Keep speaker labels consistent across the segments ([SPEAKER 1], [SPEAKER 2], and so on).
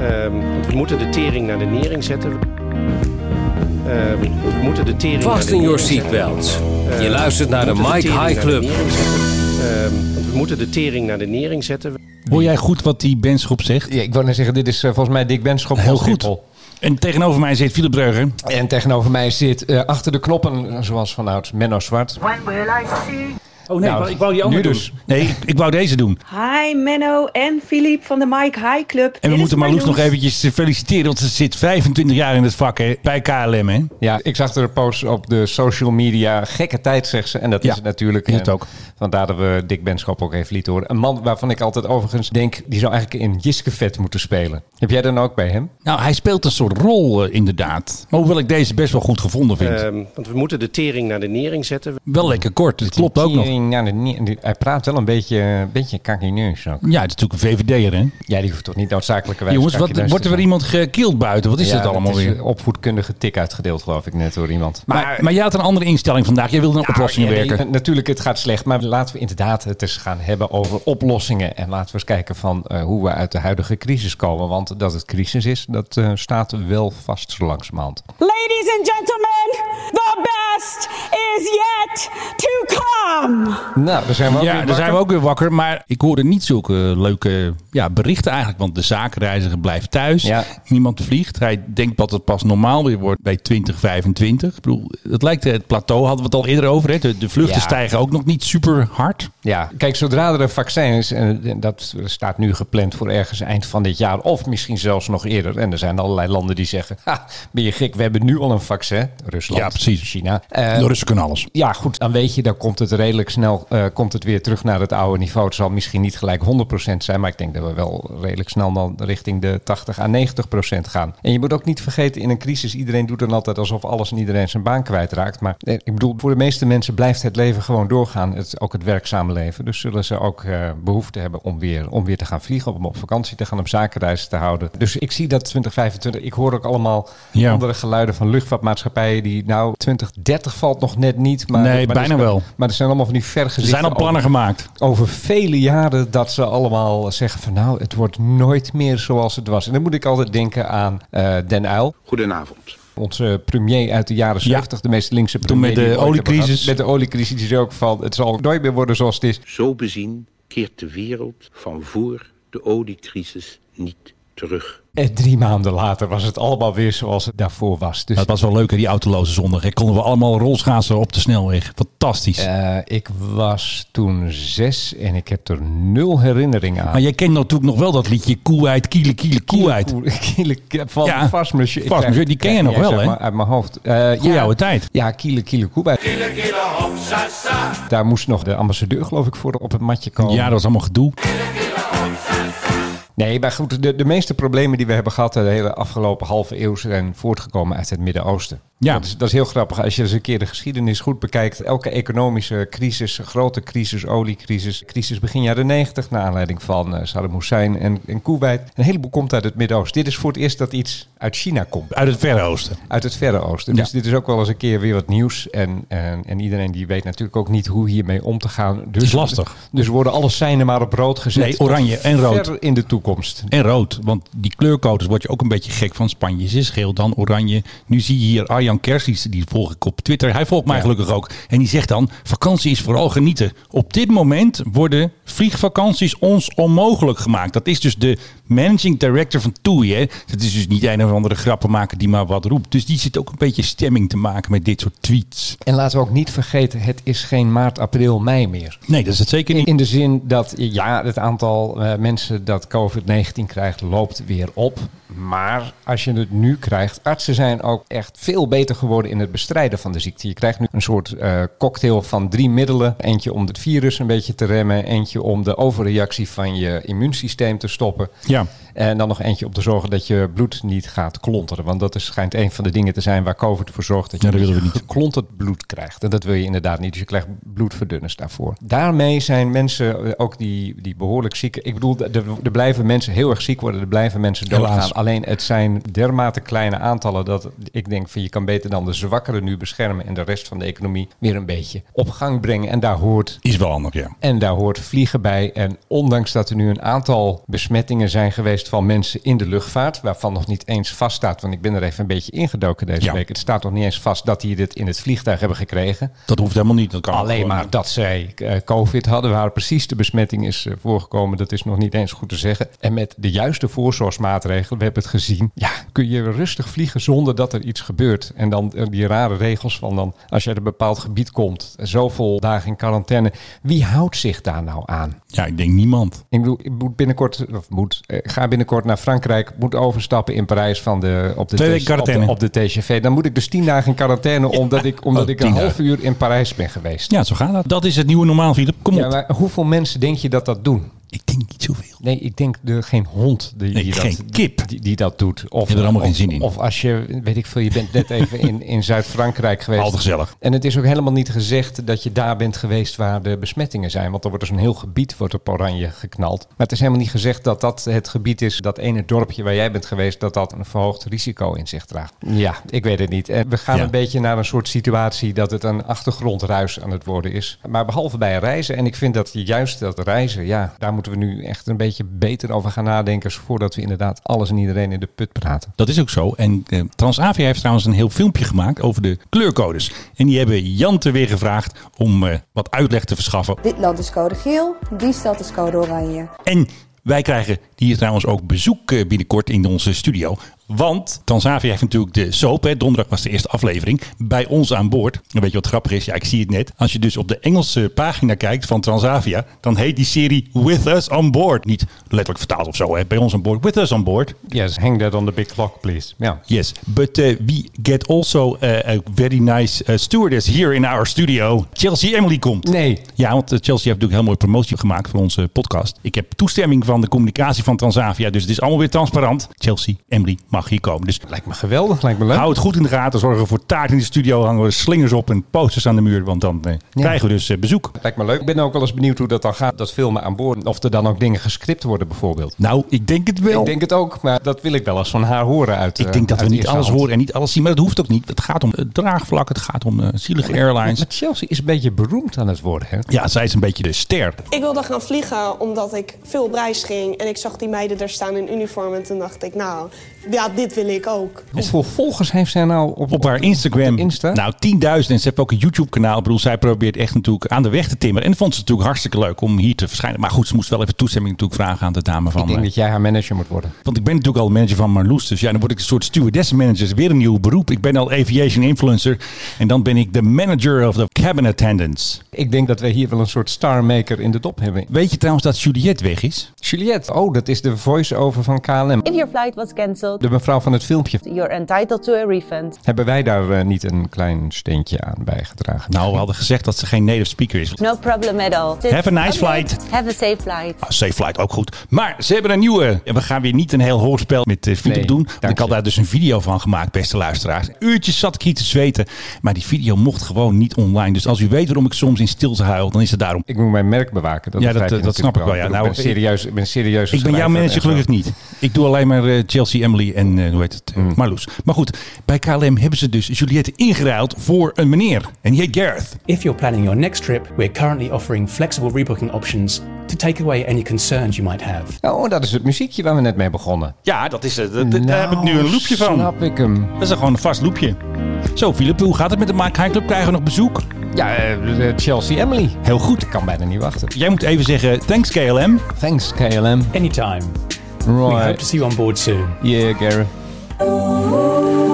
[SPEAKER 1] Ehm, we moeten de tering naar de nering zetten. Ehm, we moeten de tering naar
[SPEAKER 2] Vast
[SPEAKER 1] de
[SPEAKER 2] in your
[SPEAKER 1] nering zetten.
[SPEAKER 2] seatbelt. Je
[SPEAKER 1] Ehm,
[SPEAKER 2] luistert naar de
[SPEAKER 1] we moeten
[SPEAKER 2] Mike
[SPEAKER 1] tering
[SPEAKER 2] High
[SPEAKER 1] naar de
[SPEAKER 2] Club.
[SPEAKER 1] nering zetten. Ehm, we moeten de tering naar de nering zetten.
[SPEAKER 3] Hoor jij goed wat die Benschop zegt?
[SPEAKER 4] Ja, ik wou net zeggen, dit is eh, volgens mij Dick Benschop
[SPEAKER 3] Heel
[SPEAKER 4] van
[SPEAKER 3] goed.
[SPEAKER 4] Schiphol.
[SPEAKER 3] En tegenover mij zit Philip Dreuger.
[SPEAKER 4] En tegenover mij zit eh, achter de knoppen, zoals vanouds, Menno Zwart.
[SPEAKER 5] When will I see?
[SPEAKER 3] Oh
[SPEAKER 4] Nou, nu dus.
[SPEAKER 3] Nee, ik, ik wou deze doen.
[SPEAKER 6] Hi Menno en Filip van de Mike High Club.
[SPEAKER 3] En we moeten Marloes nog eventjes feliciteren, want ze zit 25 jaar in het vak hè, bij KLM. Hè?
[SPEAKER 4] Ja, ik zag er een post op de social media. Gekke tijd, zegt ze. En dat
[SPEAKER 3] Ja,
[SPEAKER 4] is het natuurlijk.
[SPEAKER 3] is het
[SPEAKER 4] En
[SPEAKER 3] ook.
[SPEAKER 4] Vandaar dat we Dick Benschop ook even lieten horen. Een man waarvan ik altijd overigens denk, die zou eigenlijk in Jiskevet moeten spelen. Heb jij dan ook bij hem?
[SPEAKER 3] Nou, hij speelt een soort rol eh, inderdaad. Maar hoewel ik deze best wel goed gevonden
[SPEAKER 4] Eh,
[SPEAKER 3] vind.
[SPEAKER 1] Ehm, want we moeten de tering naar de nering zetten.
[SPEAKER 3] wel lekker kort, het klopt ook nog.
[SPEAKER 4] Ja, nee, nee, hij praat wel een beetje, een beetje kakineus ook.
[SPEAKER 3] Ja, het is natuurlijk een VVD'er hè.
[SPEAKER 4] Ja, die hoeft toch niet noodzakelijkerwijs
[SPEAKER 3] Jongens, wat,
[SPEAKER 4] kakineus
[SPEAKER 3] wordt er
[SPEAKER 4] te
[SPEAKER 3] weer
[SPEAKER 4] zijn?
[SPEAKER 3] iemand gekild buiten? Wat is
[SPEAKER 4] Ja,
[SPEAKER 3] dat allemaal
[SPEAKER 4] is
[SPEAKER 3] weer?
[SPEAKER 4] een opvoedkundige tik uitgedeeld, geloof ik net door iemand.
[SPEAKER 3] Maar, maar, jij had een andere instelling vandaag. Jij wilde naar oplossingen
[SPEAKER 4] Nou, Ja, nee,
[SPEAKER 3] werken.
[SPEAKER 4] n- natuurlijk, het gaat slecht. Maar laten we inderdaad het eens gaan hebben over oplossingen. En laten we eens kijken van eh, hoe we uit de huidige crisis komen. Want dat het crisis is, dat eh, staat wel vast zo langzamerhand.
[SPEAKER 7] Ladies and gentlemen, the best is yet to come.
[SPEAKER 4] Nou, daar zijn we ook
[SPEAKER 3] Ja,
[SPEAKER 4] weer
[SPEAKER 3] daar zijn we
[SPEAKER 4] wakker.
[SPEAKER 3] ook weer wakker. Maar ik hoorde niet zulke leuke ja, berichten eigenlijk. Want de zakenreiziger blijft thuis.
[SPEAKER 4] Ja.
[SPEAKER 3] Niemand vliegt. Hij denkt dat het pas normaal weer wordt bij 2025. Ik bedoel, het lijkt eh, het plateau, hadden we het al eerder over. Hè? De, de vluchten
[SPEAKER 4] Ja.
[SPEAKER 3] stijgen ook nog niet super hard.
[SPEAKER 4] Ja, kijk, zodra er een vaccin is, en en dat staat nu gepland voor ergens eind van dit jaar, of misschien zelfs nog eerder. En er zijn allerlei landen die zeggen: ha, ben je gek, we hebben nu al een vaccin. Rusland,
[SPEAKER 3] Ja, precies.
[SPEAKER 4] China. Eh,
[SPEAKER 3] de Russen kunnen alles.
[SPEAKER 4] Ja, goed, dan weet je, dan komt het redelijk snel eh, komt het weer terug naar het oude niveau. Het zal misschien niet gelijk 100% zijn, maar ik denk dat we wel redelijk snel dan richting de 80 à 90% gaan. En je moet ook niet vergeten, in een crisis, iedereen doet dan altijd alsof alles en iedereen zijn baan kwijtraakt. Maar eh, ik bedoel, voor de meeste mensen blijft het leven gewoon doorgaan, het, ook het werkzame leven. Dus zullen ze ook eh, behoefte hebben om weer, om weer te gaan vliegen, om op vakantie te gaan, om zakenreizen te houden. Dus ik zie dat 2025, ik hoor ook allemaal
[SPEAKER 3] Ja.
[SPEAKER 4] andere geluiden van luchtvaartmaatschappijen die nou 2030 valt nog net niet, maar maar-
[SPEAKER 3] Nee,
[SPEAKER 4] maar
[SPEAKER 3] bijna
[SPEAKER 4] er zijn-
[SPEAKER 3] wel.
[SPEAKER 4] Maar er zijn allemaal van die vergezichten.
[SPEAKER 3] Er zijn al plannen
[SPEAKER 4] over,
[SPEAKER 3] gemaakt.
[SPEAKER 4] over vele jaren dat ze allemaal zeggen van nou, het wordt nooit meer zoals het was. En dan moet ik altijd denken aan eh, Den Uyl.
[SPEAKER 8] Goedenavond.
[SPEAKER 4] Onze premier uit de jaren
[SPEAKER 3] Ja.
[SPEAKER 4] 70, de meest linkse premier.
[SPEAKER 3] Toen met
[SPEAKER 4] die
[SPEAKER 3] de
[SPEAKER 4] we ooit hebben
[SPEAKER 3] oliecrisis.
[SPEAKER 4] gehad. Met de oliecrisis die er ook van, het zal nooit meer worden zoals het is.
[SPEAKER 8] Zo bezien keert de wereld van voor de oliecrisis niet terug.
[SPEAKER 4] En drie maanden later was het allemaal weer zoals het daarvoor was. Dus
[SPEAKER 3] Dat was wel leuk, hè, die autoloze zondag. hè. Konden we allemaal rolschaatsen op de snelweg. Fantastisch.
[SPEAKER 4] eh, ik was toen zes en ik heb er nul herinnering aan.
[SPEAKER 3] Maar jij kent natuurlijk nog wel dat liedje Koeheid, Kiele, Kiele, Koeheid.
[SPEAKER 4] Kiele, kiele, van
[SPEAKER 3] Ja.
[SPEAKER 4] Vasmus. Ik
[SPEAKER 3] Vasmus,
[SPEAKER 4] krijg-
[SPEAKER 3] die ken je nog
[SPEAKER 4] ja,
[SPEAKER 3] wel,
[SPEAKER 4] zeg
[SPEAKER 3] hè?
[SPEAKER 4] maar Uit mijn hoofd. Eh
[SPEAKER 3] Goeie oude tijd.
[SPEAKER 4] Ja, Kiele Kiele Koe. Daar moest nog de ambassadeur, geloof ik, voor op het matje komen.
[SPEAKER 3] Ja, dat was allemaal gedoe.
[SPEAKER 4] Nee, maar goed, de, de meeste problemen die we hebben gehad eh, de hele afgelopen halve eeuw zijn voortgekomen uit het Midden-Oosten.
[SPEAKER 3] Ja.
[SPEAKER 4] Dat is, dat is heel grappig. Als je eens een keer de geschiedenis goed bekijkt, elke economische crisis, grote crisis, oliecrisis, crisis begin jaren 90, naar aanleiding van eh, Saddam Hussein en, en Kuwait. Een heleboel komt uit het Midden-Oosten. Dit is voor het eerst dat iets uit China komt.
[SPEAKER 3] Uit het Verre Oosten.
[SPEAKER 4] Uit het Verre Oosten. Dus dit is ook wel eens een keer weer wat nieuws. En, en, en iedereen die weet natuurlijk ook niet hoe hiermee om te gaan. Dus,
[SPEAKER 3] is lastig.
[SPEAKER 4] Dus worden alle seinen maar op rood gezet.
[SPEAKER 3] Nee, oranje
[SPEAKER 4] Tot
[SPEAKER 3] en rood.
[SPEAKER 4] Ver in de toekomst.
[SPEAKER 3] En rood, want die kleurcodes word je ook een beetje gek van. Spanje is geel, dan oranje. Nu zie je hier Arjan Kersies, die volg ik op Twitter. Hij volgt mij gelukkig ook. En die zegt dan, vakantie is vooral genieten. Op dit moment worden vliegvakanties ons onmogelijk gemaakt. Dat is dus de managing director van TUI. Hè? Dat is dus niet een of andere grappenmaker die maar wat roept. Dus die zit ook een beetje stemming te maken met dit soort tweets.
[SPEAKER 4] En laten we ook niet vergeten, het is geen maart, april, mei meer.
[SPEAKER 3] Nee, dat is het zeker
[SPEAKER 4] In,
[SPEAKER 3] niet.
[SPEAKER 4] in de zin dat ja, het aantal eh, mensen dat COVID-19 krijgt loopt weer op. Maar als je het nu krijgt, artsen zijn ook echt veel beter geworden in het bestrijden van de ziekte. Je krijgt nu een soort eh, cocktail van drie middelen. Eentje om het virus een beetje te remmen. Eentje om de overreactie van je immuunsysteem te stoppen.
[SPEAKER 3] Ja.
[SPEAKER 4] En dan nog eentje om te zorgen dat je bloed niet gaat klonteren. Want dat is, schijnt een van de dingen te zijn waar COVID voor zorgt. Dat je
[SPEAKER 3] Ja, dat willen we niet.
[SPEAKER 4] geklonterd bloed krijgt. En dat wil je inderdaad niet. Dus je krijgt bloedverdunners daarvoor. Daarmee zijn mensen, eh, ook die, die behoorlijk zieken. Ik bedoel, d- er, er blijven blijven mensen heel erg ziek worden, er blijven mensen doodgaan.
[SPEAKER 3] Helaas.
[SPEAKER 4] Alleen het zijn dermate kleine aantallen dat ik denk van je kan beter dan de zwakkeren nu beschermen en de rest van de economie weer een beetje op gang brengen. En daar hoort
[SPEAKER 3] Is wel handig, ja.
[SPEAKER 4] en daar hoort vliegen bij. En ondanks dat er nu een aantal besmettingen zijn geweest van mensen in de luchtvaart, waarvan nog niet eens vaststaat, want ik ben er even een beetje ingedoken deze
[SPEAKER 3] Ja.
[SPEAKER 4] week. Het staat nog niet eens vast dat die dit in het vliegtuig hebben gekregen.
[SPEAKER 3] Dat hoeft helemaal niet. Dat kan
[SPEAKER 4] Alleen
[SPEAKER 3] gewoon.
[SPEAKER 4] maar dat zij eh, COVID hadden, waar precies de besmetting is eh, voorgekomen, dat is nog niet eens goed te zeggen. En met de juiste voorzorgsmaatregelen, we hebben het gezien, ja, kun je rustig vliegen zonder dat er iets gebeurt. En dan eh, die rare regels van dan, als je uit een bepaald gebied komt, zoveel dagen in quarantaine, wie houdt zich daar nou aan?
[SPEAKER 3] Ja, ik denk niemand.
[SPEAKER 4] Ik bedoel, ik moet binnenkort, of moet, eh, ga binnenkort naar Frankrijk, moet overstappen in Parijs van de, op, de
[SPEAKER 3] Twee
[SPEAKER 4] TG
[SPEAKER 3] weken
[SPEAKER 4] op, de,
[SPEAKER 3] quarantaine.
[SPEAKER 4] op de TGV. Dan moet ik dus tien dagen in quarantaine, omdat ik, omdat
[SPEAKER 3] Oh,
[SPEAKER 4] ik een
[SPEAKER 3] tien
[SPEAKER 4] half uur in Parijs ben geweest.
[SPEAKER 3] Ja, zo gaat dat. Dat is het nieuwe normaal, Filip. Kom
[SPEAKER 4] Ja,
[SPEAKER 3] op.
[SPEAKER 4] maar hoeveel mensen denk je dat dat doen?
[SPEAKER 3] Ik denk niet zoveel.
[SPEAKER 4] Nee, ik denk de, geen hond die,
[SPEAKER 3] Nee,
[SPEAKER 4] die
[SPEAKER 3] geen
[SPEAKER 4] dat,
[SPEAKER 3] kip.
[SPEAKER 4] Die, die dat doet. Of,
[SPEAKER 3] Je hebt er allemaal
[SPEAKER 4] of-
[SPEAKER 3] geen zin in.
[SPEAKER 4] Of als je, weet ik veel, je bent net even in, in Zuid-Frankrijk geweest.
[SPEAKER 3] Altijd gezellig.
[SPEAKER 4] En het is ook helemaal niet gezegd dat je daar bent geweest waar de besmettingen zijn. Want er wordt dus een heel gebied wordt op oranje geknald. Maar het is helemaal niet gezegd dat dat het gebied is, dat ene dorpje waar jij bent geweest, dat dat een verhoogd risico in zich draagt. Ja, ik weet het niet. En we gaan
[SPEAKER 3] Ja.
[SPEAKER 4] een beetje naar een soort situatie dat het een achtergrondruis aan het worden is. Maar behalve bij reizen. En ik vind dat juist dat reizen, ja, daar moeten we nu echt een beetje beter over gaan nadenken. Voordat we inderdaad alles en iedereen in de put praten.
[SPEAKER 3] Dat is ook zo. En eh, Transavia heeft trouwens een heel filmpje gemaakt over de kleurcodes. En die hebben Jante weer gevraagd om eh, wat uitleg te verschaffen.
[SPEAKER 2] Dit land is code geel, die stad is code oranje.
[SPEAKER 3] En wij krijgen hier trouwens ook bezoek eh, binnenkort in onze studio. Want Transavia heeft natuurlijk de soap. Hè. Donderdag was de eerste aflevering. Bij ons aan boord. En weet je wat grappig is? Ja, ik zie het net. Als je dus op de Engelse pagina kijkt van Transavia. dan heet die serie With Us on Board. Niet letterlijk vertaald of zo. Hè. Bij ons aan boord. With Us on Board.
[SPEAKER 4] Yes, dus hang that on the big clock, please. Ja.
[SPEAKER 3] Yes, but uh, we get also uh, a very nice uh, stewardess here in our studio. Chelsea Emily komt.
[SPEAKER 4] Nee.
[SPEAKER 3] Ja, want eh, Chelsea heeft natuurlijk heel mooi promotie gemaakt voor onze podcast. Ik heb toestemming van de communicatie van Transavia, dus het is allemaal weer transparant. Chelsea Emily mag hier komen. Dus
[SPEAKER 4] Lijkt me geweldig, lijkt me leuk.
[SPEAKER 3] hou het goed in de gaten. Zorgen we voor taart in de studio. Hangen we slingers op en posters aan de muur, want dan eh, krijgen we dus eh, bezoek.
[SPEAKER 4] Lijkt me leuk. Ik ben ook wel eens benieuwd hoe dat dan gaat, dat filmen aan boord. Of er dan ook dingen gescript worden bijvoorbeeld.
[SPEAKER 3] Nou, ik denk het wel.
[SPEAKER 4] Ik denk het ook, maar dat wil ik wel eens van haar horen uit
[SPEAKER 3] Ik
[SPEAKER 4] eh,
[SPEAKER 3] denk dat we
[SPEAKER 4] uit
[SPEAKER 3] niet
[SPEAKER 4] eerste
[SPEAKER 3] alles
[SPEAKER 4] hand.
[SPEAKER 3] horen en niet alles zien, maar dat hoeft ook niet. Het gaat om het draagvlak, het gaat om eh, zielige airlines.
[SPEAKER 4] Maar Chelsea is een beetje beroemd aan het worden, hè?
[SPEAKER 3] Ja, zij is een beetje de ster.
[SPEAKER 5] Ik wilde gaan vliegen omdat ik veel op reis ging. En ik zag die meiden daar staan in uniform. En toen dacht ik, nou, ja, dit wil ik ook.
[SPEAKER 4] Hoeveel volgers heeft zij nou op,
[SPEAKER 3] Op haar Instagram.
[SPEAKER 4] op Insta?
[SPEAKER 3] Nou, 10.000. En ze heeft ook een YouTube-kanaal. Ik bedoel, zij probeert echt natuurlijk aan de weg te timmeren. En vond ze natuurlijk hartstikke leuk om hier te verschijnen. Maar goed, ze moest wel even toestemming natuurlijk vragen aan de dame van...
[SPEAKER 4] ik denk
[SPEAKER 3] eh,
[SPEAKER 4] dat jij haar manager moet worden.
[SPEAKER 3] Want ik ben natuurlijk al manager van Marloes. Dus ja, dan word ik een soort stewardess-manager. Dat is Weer een nieuw beroep. Ik ben al aviation influencer. En dan ben ik de manager of the cabin attendants.
[SPEAKER 4] Ik denk dat wij hier wel een soort starmaker in de dop hebben.
[SPEAKER 3] Weet je trouwens dat Juliette weg is?
[SPEAKER 4] Juliette, oh, dat is de voice-over van KLM.
[SPEAKER 9] If your flight was cancelled,
[SPEAKER 4] De mevrouw van het filmpje.
[SPEAKER 9] you're entitled to a refund.
[SPEAKER 4] Hebben wij daar eh, niet een klein steentje aan bijgedragen?
[SPEAKER 3] Nou, we hadden gezegd dat ze geen native speaker is.
[SPEAKER 9] No problem at all.
[SPEAKER 3] Have a nice flight.
[SPEAKER 9] Have a safe flight.
[SPEAKER 3] Ah, Safe Flight ook goed. Maar ze hebben een nieuwe. En We gaan weer niet een heel hoorspel met eh, Philip
[SPEAKER 4] Nee,
[SPEAKER 3] doen. Want
[SPEAKER 4] dank
[SPEAKER 3] ik had
[SPEAKER 4] je.
[SPEAKER 3] daar dus een video van gemaakt, beste luisteraars. Uurtjes zat ik hier te zweten. Maar die video mocht gewoon niet online. Dus als u weet waarom ik soms in stilte huil, dan is het daarom.
[SPEAKER 4] Ik moet mijn merk bewaken. Dat
[SPEAKER 3] Ja,
[SPEAKER 4] begrijp
[SPEAKER 3] dat-
[SPEAKER 4] je
[SPEAKER 3] dat snap
[SPEAKER 4] natuurlijk
[SPEAKER 3] ik wel, ja.
[SPEAKER 4] Ik
[SPEAKER 3] Nou,
[SPEAKER 4] ben serieus. Ik ben, serieus eh,
[SPEAKER 3] Ik ben jouw
[SPEAKER 4] schrijver
[SPEAKER 3] manager
[SPEAKER 4] en zo.
[SPEAKER 3] gelukkig niet. Ik doe alleen maar eh, Chelsea, Emily en eh, hoe heet het? eh,
[SPEAKER 4] Mm.
[SPEAKER 3] Marloes. Maar goed, bij KLM hebben ze dus Juliette ingeruild voor een meneer. En die heet Gareth.
[SPEAKER 10] If you're planning your next trip, we're currently offering flexible rebooking options to take away any concerns you might have.
[SPEAKER 4] Oh, dat is het muziekje waar we net mee begonnen.
[SPEAKER 3] Ja, dat is het. Dat- dat- daar heb ik nu
[SPEAKER 4] Nou,
[SPEAKER 3] een loopje van.
[SPEAKER 4] Snap ik hem.
[SPEAKER 3] Dat is dan gewoon een vast loopje. Zo, Philip, hoe gaat het met de Mike High Club? Krijgen we nog bezoek?
[SPEAKER 4] Ja, eh, eh, Chelsea Emily.
[SPEAKER 3] Heel goed.
[SPEAKER 4] Ik kan bijna niet wachten.
[SPEAKER 3] Jij moet even zeggen, thanks KLM.
[SPEAKER 4] Thanks, KLM.
[SPEAKER 10] Anytime. We hope to
[SPEAKER 4] Right.
[SPEAKER 10] see you on board soon.
[SPEAKER 4] Yeah, Gareth.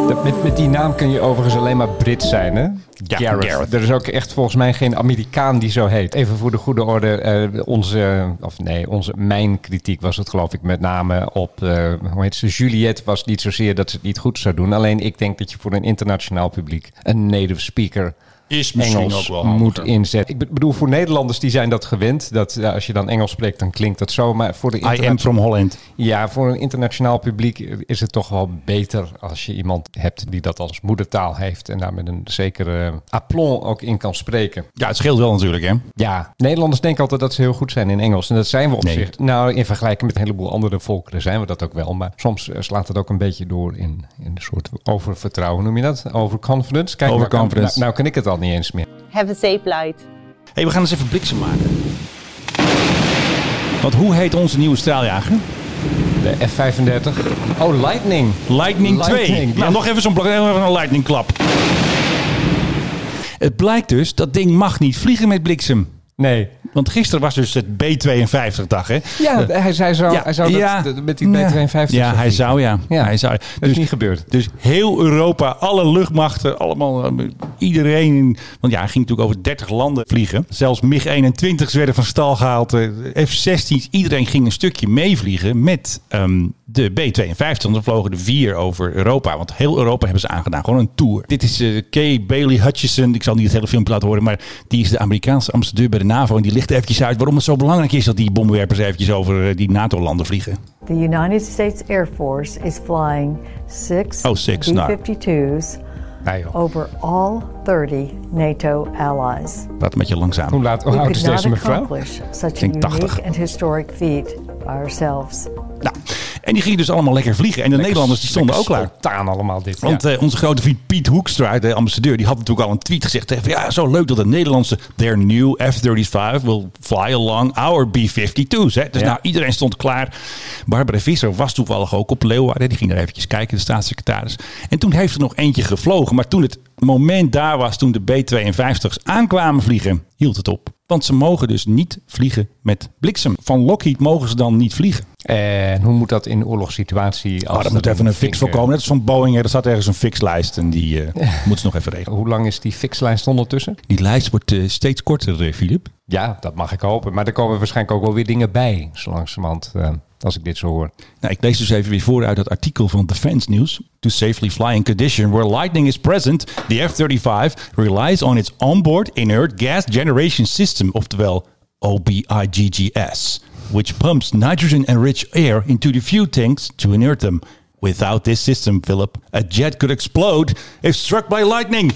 [SPEAKER 4] Dat- Met, met die naam kun je overigens alleen maar Brit zijn, hè?
[SPEAKER 3] Ja, Gareth.
[SPEAKER 4] Er is ook echt volgens mij geen Amerikaan die zo heet. Even voor de goede orde, eh, onze, of nee, onze, mijn kritiek was het geloof ik met name op, eh, hoe heet ze, Juliette was niet zozeer dat ze het niet goed zou doen. Alleen ik denk dat je voor een internationaal publiek een native speaker
[SPEAKER 3] Is misschien
[SPEAKER 4] Engels
[SPEAKER 3] ook wel
[SPEAKER 4] moet
[SPEAKER 3] handiger.
[SPEAKER 4] inzetten. Ik be- bedoel, voor Nederlanders die zijn dat gewend. Dat, ja, als je dan Engels spreekt, dan klinkt dat zo. Maar voor de
[SPEAKER 3] I am
[SPEAKER 4] interna-
[SPEAKER 3] from Holland.
[SPEAKER 4] ja, voor een internationaal publiek is het toch wel beter als je iemand hebt die dat als moedertaal heeft en daar met een zekere eh, aplomb ook in kan spreken.
[SPEAKER 3] Ja, het scheelt wel natuurlijk, hè?
[SPEAKER 4] Ja, Nederlanders denken altijd dat ze heel goed zijn in Engels. En dat zijn we op
[SPEAKER 3] Nee.
[SPEAKER 4] zich. Nou, in vergelijking met een heleboel andere volkeren zijn we dat ook wel. Maar soms eh, slaat het ook een beetje door in, in een soort oververtrouwen. Noem je dat? Overconfidence? Kijk, nou kan-
[SPEAKER 3] Overconfidence.
[SPEAKER 4] Nou, nou kan ik het al niet eens meer.
[SPEAKER 9] Have a safe flight.
[SPEAKER 3] hey, we gaan eens even bliksem maken. Want hoe heet onze nieuwe straaljager?
[SPEAKER 4] De F-35. Oh, Lightning.
[SPEAKER 3] Lightning 2.
[SPEAKER 4] Lightning,
[SPEAKER 3] nou,
[SPEAKER 4] ja.
[SPEAKER 3] nog even zo'n blok- even een lightning klap. Het blijkt dus, dat ding mag niet vliegen met bliksem.
[SPEAKER 4] Nee.
[SPEAKER 3] Want gisteren was dus het B-52-dag, hè?
[SPEAKER 4] Ja, hij, zei zo, Oh, hij zou dat
[SPEAKER 3] ja.
[SPEAKER 4] dat- met die B-52...
[SPEAKER 3] Ja, ja hij zou, ja.
[SPEAKER 4] Ja.
[SPEAKER 3] Hij zou.
[SPEAKER 4] Dat is niet gebeurd.
[SPEAKER 3] Dus heel Europa, alle luchtmachten, allemaal eh, iedereen. in- Want ja, hij ging natuurlijk over 30 landen vliegen. Zelfs MiG 21 werden van stal gehaald. eh, F-16's, iedereen ging een stukje meevliegen met ehm, de B-52. Dan vlogen er vier over Europa. Want heel Europa hebben ze aangedaan. Gewoon een tour. Dit is eh, Kay Bailey Hutchison. Ik zal niet het hele filmpje laten horen. Maar die is de Amerikaanse ambassadeur bij de NAVO. En die ligt er eventjes uit waarom het zo belangrijk is dat die bommenwerpers eventjes over eh, die NATO-landen vliegen.
[SPEAKER 7] The United States Air Force is flying six
[SPEAKER 3] Oh, six, no.
[SPEAKER 7] B-52s
[SPEAKER 4] Ja, joh.
[SPEAKER 7] over all 30 NATO allies.
[SPEAKER 3] Laat een beetje langzaam.
[SPEAKER 4] Hoe laat hoe
[SPEAKER 7] We
[SPEAKER 4] oud is
[SPEAKER 7] could not
[SPEAKER 4] deze mevrouw?
[SPEAKER 7] accomplish such a
[SPEAKER 3] denk 80.
[SPEAKER 7] unique and historic feat by ourselves.
[SPEAKER 3] Nou, en die gingen dus allemaal lekker vliegen. En de Nederlanders die stonden ook klaar.
[SPEAKER 4] Spontaan allemaal dit.
[SPEAKER 3] Want
[SPEAKER 4] ja.
[SPEAKER 3] eh, onze grote vriend Piet Hoekstra, de ambassadeur, die had natuurlijk al een tweet gezegd. hè, van, ja, zo leuk dat de Nederlandse, their new F-35 will fly along our B-52's. Hè. Dus
[SPEAKER 4] Ja.
[SPEAKER 3] nou, iedereen stond klaar. Barbara Visser was toevallig ook op Leeuwarden. Die ging daar eventjes kijken, de staatssecretaris. En toen heeft er nog eentje gevlogen. Maar toen het moment daar was, toen de B-52's aankwamen vliegen, hield het op. Want ze mogen dus niet vliegen met bliksem. Van Lockheed mogen ze dan niet vliegen.
[SPEAKER 4] En hoe moet dat in oorlogssituatie...
[SPEAKER 3] Oh,
[SPEAKER 4] als
[SPEAKER 3] daar
[SPEAKER 4] er
[SPEAKER 3] eh, moet even een fix
[SPEAKER 4] flinke-
[SPEAKER 3] voor komen. Dat is van Boeing. Hè. Er staat ergens een fixlijst en die eh, moeten ze nog even regelen.
[SPEAKER 4] Hoe lang is die fixlijst ondertussen?
[SPEAKER 3] Die lijst wordt eh, steeds korter, eh, Filip.
[SPEAKER 4] Ja, dat mag ik hopen. Maar er komen waarschijnlijk ook wel weer dingen bij, zo langzamerhand, eh, als ik dit zo hoor.
[SPEAKER 3] Nou, ik lees dus even weer voor uit dat artikel van Defense News. To safely fly in condition where lightning is present, the F-35 relies on its onboard inert gas generation system, oftewel OBIGGS, which pumps nitrogen-enriched air into the fuel tanks to inert them. Without this system, Philip, a jet could explode if struck by lightning.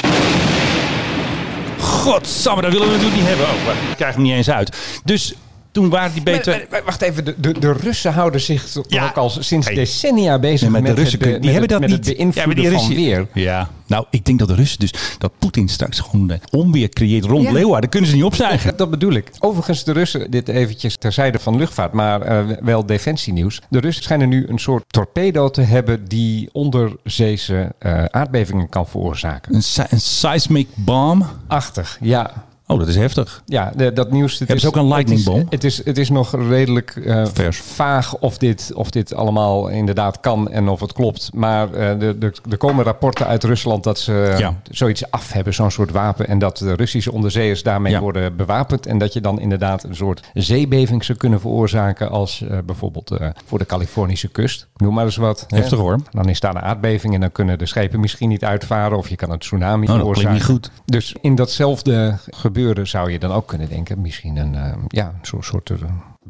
[SPEAKER 3] Godsamme, dat willen we natuurlijk niet hebben. Oh, wacht, ik krijg hem niet eens uit. Dus toen waren die B2...
[SPEAKER 4] wacht even, de, de, de Russen houden zich toch
[SPEAKER 3] Ja.
[SPEAKER 4] ook al sinds
[SPEAKER 3] Hey.
[SPEAKER 4] decennia bezig
[SPEAKER 3] Nee, maar
[SPEAKER 4] met
[SPEAKER 3] de Russen
[SPEAKER 4] het, be-
[SPEAKER 3] kunnen- die
[SPEAKER 4] met
[SPEAKER 3] hebben
[SPEAKER 4] het-
[SPEAKER 3] dat
[SPEAKER 4] met
[SPEAKER 3] niet.
[SPEAKER 4] het beïnvloeden
[SPEAKER 3] Ja, maar
[SPEAKER 4] van
[SPEAKER 3] die
[SPEAKER 4] weer.
[SPEAKER 3] Russen- Ja, nou, ik denk dat de Russen dus dat Poetin straks gewoon eh, onweer creëert rond
[SPEAKER 4] Ja.
[SPEAKER 3] Leeuwarden. kunnen ze niet opzuigen.
[SPEAKER 4] Dat, dat bedoel ik. Overigens, de Russen, dit eventjes terzijde van luchtvaart, maar eh, wel defensienieuws. De Russen schijnen nu een soort torpedo te hebben die onderzeese eh, aardbevingen kan veroorzaken.
[SPEAKER 3] Een, se- een seismic bomb.
[SPEAKER 4] Achtig, ja.
[SPEAKER 3] Oh, dat is heftig.
[SPEAKER 4] Ja, de- dat nieuws. het
[SPEAKER 3] Hebben
[SPEAKER 4] is-
[SPEAKER 3] ze ook een lightning
[SPEAKER 4] het is-
[SPEAKER 3] bomb?
[SPEAKER 4] Het is, het is, nog redelijk eh,
[SPEAKER 3] Vers.
[SPEAKER 4] vaag of dit, of dit allemaal inderdaad kan en of het klopt. Maar eh, de, de, er komen rapporten uit Rusland dat ze eh,
[SPEAKER 3] Ja.
[SPEAKER 4] zoiets af hebben, zo'n soort wapen. En dat de Russische onderzeeërs daarmee
[SPEAKER 3] Ja.
[SPEAKER 4] worden bewapend. En dat je dan inderdaad een soort zeebeving zou kunnen veroorzaken. Als eh, bijvoorbeeld eh, voor de Californische kust. Noem maar eens wat. hè.
[SPEAKER 3] Heftig, hoor.
[SPEAKER 4] Dan is daar een aardbeving en dan kunnen de schepen misschien niet uitvaren. Of je kan een tsunami
[SPEAKER 3] Oh, dat klinkt
[SPEAKER 4] veroorzaken.
[SPEAKER 3] niet goed.
[SPEAKER 4] Dus in datzelfde gebeuren zou je dan ook kunnen denken, misschien een, eh, ja, een soort, soort eh,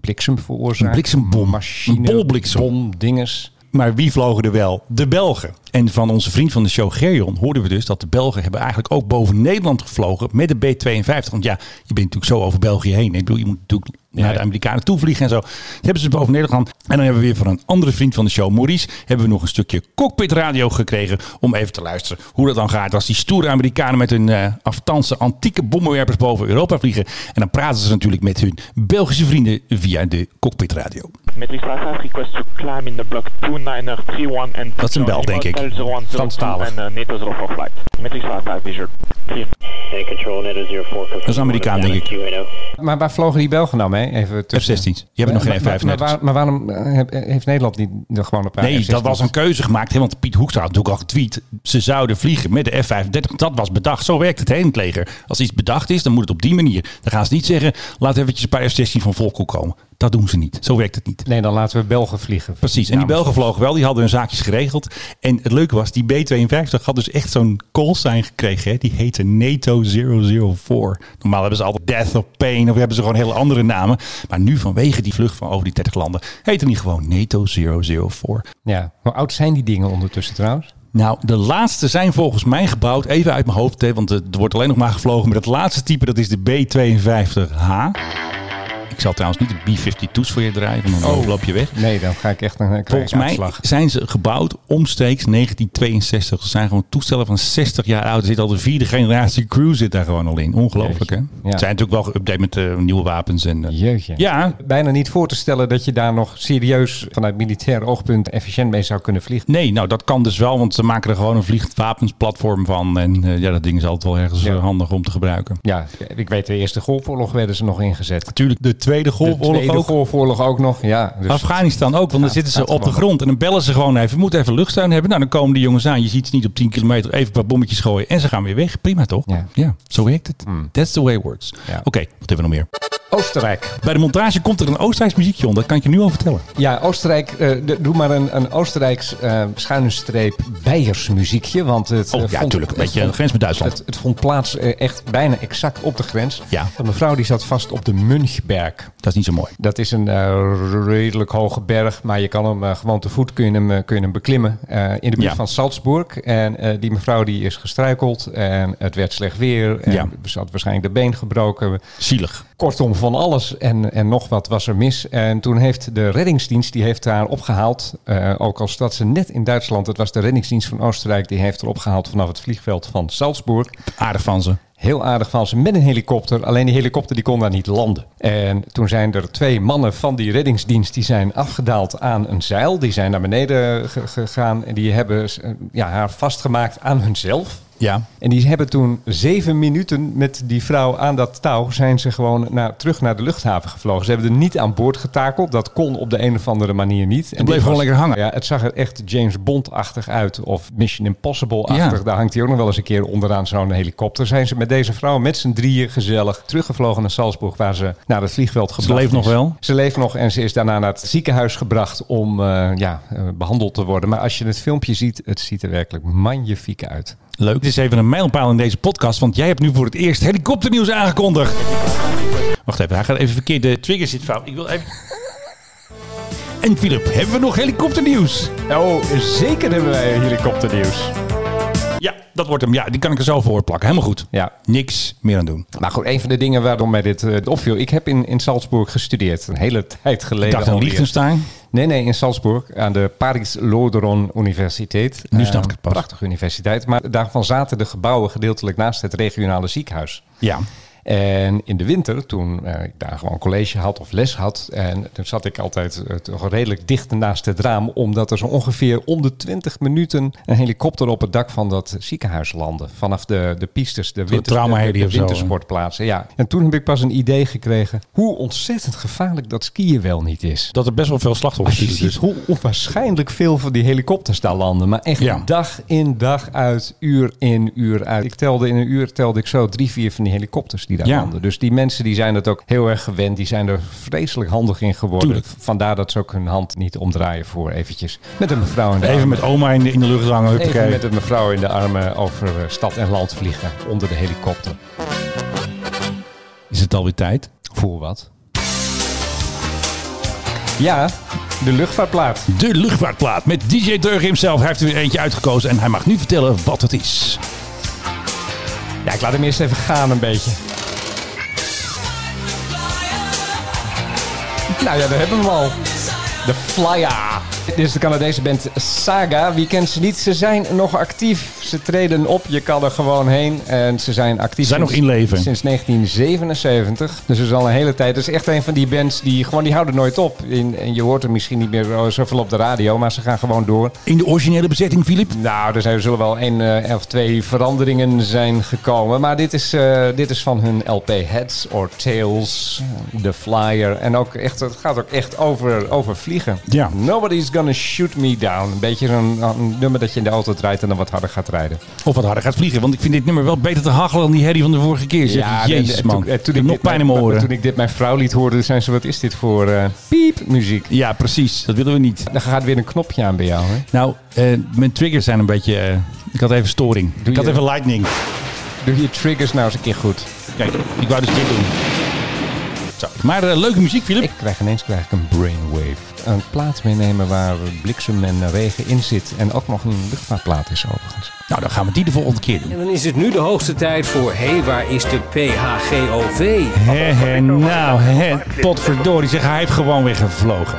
[SPEAKER 4] bliksem veroorzaken.
[SPEAKER 3] Een bliksembom.
[SPEAKER 4] Machine,
[SPEAKER 3] Een bolbliksem.
[SPEAKER 4] bom, dinges.
[SPEAKER 3] Maar wie vlogen er wel? De Belgen. En van onze vriend van de show Gerion hoorden we dus dat de Belgen hebben eigenlijk ook boven Nederland gevlogen met de B-52. Want ja, je bent natuurlijk zo over België heen. Ik bedoel, je moet natuurlijk naar de Amerikanen toe vliegen en zo. Dat hebben ze dus boven Nederland. En dan hebben we weer van een andere vriend van de show, Maurice, hebben we nog een stukje cockpitradio gekregen om even te luisteren hoe dat dan gaat. Als die stoere Amerikanen met hun eh aftanse antieke bommenwerpers boven Europa vliegen. En dan praten ze natuurlijk met hun Belgische vrienden via de cockpitradio. Dat is een bel, denk ik.
[SPEAKER 4] Franstalig.
[SPEAKER 3] Dat is een Amerikaan, denk ik.
[SPEAKER 4] Maar waar vlogen die Belgen nou mee? Even tussen.
[SPEAKER 3] F-16's. Je hebt nog geen
[SPEAKER 4] Maar- maar-
[SPEAKER 3] F-35's.
[SPEAKER 4] Maar, waar- maar waarom eh, heb- heeft Nederland niet gewoon een paar
[SPEAKER 3] Nee, dat
[SPEAKER 4] F-16's?
[SPEAKER 3] was een keuze gemaakt. Hè, want Piet Hoekstra had natuurlijk al getweet. Ze zouden vliegen met de F-35. Dat was bedacht. Zo werkt het hè, in het leger. Als iets bedacht is, dan moet het op die manier. Dan gaan ze niet zeggen, laat eventjes een paar F-16 van Volkel komen. Dat doen ze niet. Zo werkt het niet.
[SPEAKER 4] Nee, dan laten we Belgen vliegen.
[SPEAKER 3] Precies. En die
[SPEAKER 4] Namens-
[SPEAKER 3] Belgen vlogen wel. Die hadden hun zaakjes geregeld. En het leuke was, die B-52 had dus echt zo'n callsign gekregen. Hè? Die heette NATO 004. Normaal hebben ze altijd Death of Pain. Of hebben ze gewoon hele andere namen. Maar nu vanwege die vlucht van over die 30 landen. Heette die gewoon NATO 004.
[SPEAKER 4] Ja. Hoe oud zijn die dingen ondertussen trouwens?
[SPEAKER 3] Nou, de laatste zijn volgens mij gebouwd, even uit mijn hoofd, hè, want er wordt alleen nog maar gevlogen. Maar dat laatste type, dat is de B-52H. Ik zal trouwens niet de B-52's voor je draaien, want dan loop je weg.
[SPEAKER 4] Nee, dan ga ik echt een eh,
[SPEAKER 3] Volgens mij
[SPEAKER 4] uitslag.
[SPEAKER 3] zijn ze gebouwd omstreeks 1962. Ze zijn gewoon toestellen van 60 jaar oud. Er zit al de vierde generatie crew zit daar gewoon al in. Ongelooflijk, hè?
[SPEAKER 4] Jeetje. Ja.
[SPEAKER 3] Het zijn natuurlijk wel geüpdate met eh, nieuwe wapens. En, eh,
[SPEAKER 4] Jeetje.
[SPEAKER 3] Ja,
[SPEAKER 4] Bijna niet voor te stellen dat je daar nog serieus vanuit militair oogpunt efficiënt mee zou kunnen vliegen.
[SPEAKER 3] nee, nou dat kan dus wel, want ze maken er gewoon een vliegwapensplatform van. En eh, ja, dat ding is altijd wel ergens
[SPEAKER 4] Ja.
[SPEAKER 3] eh, handig om te gebruiken.
[SPEAKER 4] Ja, ik weet, de Eerste Golfoorlog werden ze nog ingezet.
[SPEAKER 3] Natuurlijk de Tweede Golfoorlog
[SPEAKER 4] de Tweede
[SPEAKER 3] ook.
[SPEAKER 4] Golfoorlog ook nog, ja. Dus
[SPEAKER 3] Afghanistan ook, want dan zitten ze
[SPEAKER 4] gaat
[SPEAKER 3] op de
[SPEAKER 4] gewoon.
[SPEAKER 3] grond en dan bellen ze gewoon even. We moeten even luchtsteun hebben. Nou, dan komen die jongens aan. Je ziet ze niet op 10 kilometer. Even een paar bommetjes gooien en ze gaan weer weg. Prima toch?
[SPEAKER 4] Ja. Hmm.
[SPEAKER 3] zo werkt het. That's the way it works.
[SPEAKER 4] Ja.
[SPEAKER 3] Oké, wat hebben we nog meer?
[SPEAKER 4] Oostenrijk.
[SPEAKER 3] Bij de montage komt er een Oostenrijks muziekje onder. Dat kan ik je nu al vertellen.
[SPEAKER 4] Ja, Oostenrijk. eh, de- doe maar een, een Oostenrijks eh schuine streep Beiersmuziekje. Want het,
[SPEAKER 3] Oh ja,
[SPEAKER 4] eh, vond-
[SPEAKER 3] natuurlijk. Een
[SPEAKER 4] het
[SPEAKER 3] beetje
[SPEAKER 4] vond-
[SPEAKER 3] een grens met Duitsland.
[SPEAKER 4] Het, het vond plaats eh, echt bijna exact op de grens.
[SPEAKER 3] Ja.
[SPEAKER 4] Een mevrouw die zat vast op de Münchberg.
[SPEAKER 3] dat is niet zo mooi.
[SPEAKER 4] Dat is een eh, redelijk hoge berg, maar je kan hem eh, gewoon te voet kun je hem, eh, kun je hem beklimmen. eh, in de buurt
[SPEAKER 3] Ja.
[SPEAKER 4] van Salzburg. En eh, die mevrouw die is gestruikeld en het werd slecht weer. En
[SPEAKER 3] Ja.
[SPEAKER 4] Ze had waarschijnlijk de been gebroken.
[SPEAKER 3] Zielig.
[SPEAKER 4] Kortom, van alles en, en nog wat was er mis. En toen heeft de reddingsdienst, die heeft haar opgehaald. eh, ook al zat ze net in Duitsland. Het was de reddingsdienst van Oostenrijk. Die heeft haar opgehaald vanaf het vliegveld van Salzburg.
[SPEAKER 3] Aardig van ze.
[SPEAKER 4] Heel aardig van ze met een helikopter. Alleen die helikopter die kon daar niet landen. En toen zijn er twee mannen van die reddingsdienst... die zijn afgedaald aan een zeil. Die zijn naar beneden ge- gegaan. En die hebben eh, ja, haar vastgemaakt aan hunzelf.
[SPEAKER 3] Ja.
[SPEAKER 4] En die hebben toen zeven minuten met die vrouw aan dat touw... zijn ze gewoon naar, terug naar de luchthaven gevlogen. Ze hebben er niet aan boord getakeld. Dat kon op de een of andere manier niet. En
[SPEAKER 3] bleef
[SPEAKER 4] dit
[SPEAKER 3] gewoon lekker hangen.
[SPEAKER 4] Ja, het zag er echt James Bond-achtig uit. Of Mission Impossible-achtig.
[SPEAKER 3] Ja.
[SPEAKER 4] Daar hangt hij ook nog wel eens een keer onderaan zo'n helikopter. Zijn ze met deze vrouw met z'n drieën gezellig teruggevlogen naar Salzburg... waar ze naar het vliegveld gebracht
[SPEAKER 3] leeft
[SPEAKER 4] is.
[SPEAKER 3] nog wel?
[SPEAKER 4] Ze leeft nog en ze is daarna naar het ziekenhuis gebracht... om eh, ja, eh, behandeld te worden. Maar als je het filmpje ziet, het ziet er werkelijk magnifiek uit.
[SPEAKER 3] Leuk. Dit is even een mijlpaal in deze podcast, want jij hebt nu voor het eerst helikopternieuws aangekondigd. Wacht even, hij gaat even verkeerd. De trigger zit fout. Ik wil even... En Philip, hebben we nog helikopternieuws?
[SPEAKER 4] Oh, zeker hebben wij helikopternieuws.
[SPEAKER 3] Ja, dat wordt hem. Ja, die kan ik er zo voor plakken. Helemaal goed.
[SPEAKER 4] Ja.
[SPEAKER 3] Niks meer aan doen.
[SPEAKER 4] Maar goed, een van de dingen waarom mij dit eh, opviel. Ik heb in, in Salzburg gestudeerd, een hele tijd geleden.
[SPEAKER 3] Ik dacht aan
[SPEAKER 4] alweer.
[SPEAKER 3] Liechtenstein.
[SPEAKER 4] Nee, nee, in Salzburg, aan de Paris-Lodron Universiteit.
[SPEAKER 3] Nu
[SPEAKER 4] Eh,
[SPEAKER 3] snap ik het pas.
[SPEAKER 4] Prachtige universiteit, maar daarvan zaten de gebouwen gedeeltelijk naast het regionale ziekenhuis.
[SPEAKER 3] Ja.
[SPEAKER 4] En in de winter, toen eh, ik daar gewoon college had of les had, en toen zat ik altijd eh, toch redelijk dicht naast het raam, omdat er zo ongeveer om de 20 minuten een helikopter op het dak van dat ziekenhuis landde. Vanaf de, de pistes, de, winter,
[SPEAKER 3] traumaheli
[SPEAKER 4] de, de
[SPEAKER 3] of zo, hè?
[SPEAKER 4] wintersportplaatsen. Ja. En toen heb ik pas een idee gekregen hoe ontzettend gevaarlijk dat skiën wel niet is.
[SPEAKER 3] Dat er best wel veel slachtoffers
[SPEAKER 4] Als je
[SPEAKER 3] vielen.
[SPEAKER 4] ziet
[SPEAKER 3] Dus.
[SPEAKER 4] hoe onwaarschijnlijk veel van die helikopters daar landen. Maar echt
[SPEAKER 3] Ja.
[SPEAKER 4] dag in dag uit, uur in uur uit. Ik telde in een uur telde ik zo drie, vier van die helikopters die daar
[SPEAKER 3] Ja.
[SPEAKER 4] landen. Dus die mensen die zijn het ook heel erg gewend. Die zijn er vreselijk handig in geworden.
[SPEAKER 3] Tuurlijk.
[SPEAKER 4] Vandaar dat ze ook hun hand niet omdraaien voor eventjes met een mevrouw in de
[SPEAKER 3] Even
[SPEAKER 4] armen.
[SPEAKER 3] met oma in de, in de lucht hangen.
[SPEAKER 4] Even
[SPEAKER 3] Huppakee.
[SPEAKER 4] met een mevrouw in de armen over eh, stad en land vliegen onder de helikopter.
[SPEAKER 3] Is het alweer tijd?
[SPEAKER 4] Voor wat? Ja, de luchtvaartplaat.
[SPEAKER 3] De luchtvaartplaat met DJ Deug himself. Hij heeft er weer eentje uitgekozen en hij mag nu vertellen wat het is.
[SPEAKER 4] Ja, ik laat hem eerst even gaan een beetje. Nou ja, daar hebben we hem al. De Flyer. Dit is de Canadese band Saga. Wie kent ze niet? Ze zijn nog actief. Ze treden op. Je kan er gewoon heen. En ze zijn actief.
[SPEAKER 3] Ze zijn nog in leven.
[SPEAKER 4] Sinds 1977. Dus dat is al een hele tijd. Dat is echt een van die bands die gewoon die houden nooit op. In, en je hoort er misschien niet meer zoveel op de radio. Maar ze gaan gewoon door.
[SPEAKER 3] In de originele bezetting, Filip.
[SPEAKER 4] Nou, er zijn, zullen wel één eh, of twee veranderingen zijn gekomen. Maar dit is, eh, dit is van hun LP Heads or Tails, The Flyer. En ook echt, het gaat ook echt over, over vliegen.
[SPEAKER 3] Ja.
[SPEAKER 4] Nobody's Gonna Shoot Me Down. Een beetje zo'n een nummer dat je in de auto draait en dan wat harder gaat rijden.
[SPEAKER 3] Of wat harder gaat vliegen. Want ik vind dit nummer wel beter te hachelen dan die herrie van de vorige keer. Zeg. Jezus,
[SPEAKER 4] en- en
[SPEAKER 3] man.
[SPEAKER 4] toen- en
[SPEAKER 3] ik
[SPEAKER 4] toen
[SPEAKER 3] heb
[SPEAKER 4] ik
[SPEAKER 3] nog
[SPEAKER 4] dit
[SPEAKER 3] pijn in
[SPEAKER 4] mijn-
[SPEAKER 3] mijn oren.
[SPEAKER 4] Toen ik dit mijn vrouw liet horen, zei ze, wat is dit voor eh piepmuziek?
[SPEAKER 3] Ja, precies. Dat willen we niet.
[SPEAKER 4] Dan gaat weer een knopje aan bij jou, hè?
[SPEAKER 3] Nou, eh, mijn triggers zijn een beetje... eh, ik had even storing. ik had
[SPEAKER 4] je-
[SPEAKER 3] even lightning.
[SPEAKER 4] Doe je triggers nou eens een keer goed.
[SPEAKER 3] Kijk, ik wou dus dit doen. Zo. Maar eh, leuke muziek, Philip.
[SPEAKER 4] Ik krijg ineens krijg ik een brainwave. Een plaat meenemen waar bliksem en regen in zit. En ook nog een luchtvaartplaat is overigens.
[SPEAKER 3] Nou, dan gaan we die de volgende keer doen.
[SPEAKER 11] En dan is het nu de hoogste tijd voor... Hé, hey, waar is de PHGOV?
[SPEAKER 3] Hé, hé, nou, hé, potverdorie. Zeg, hij heeft gewoon weer gevlogen.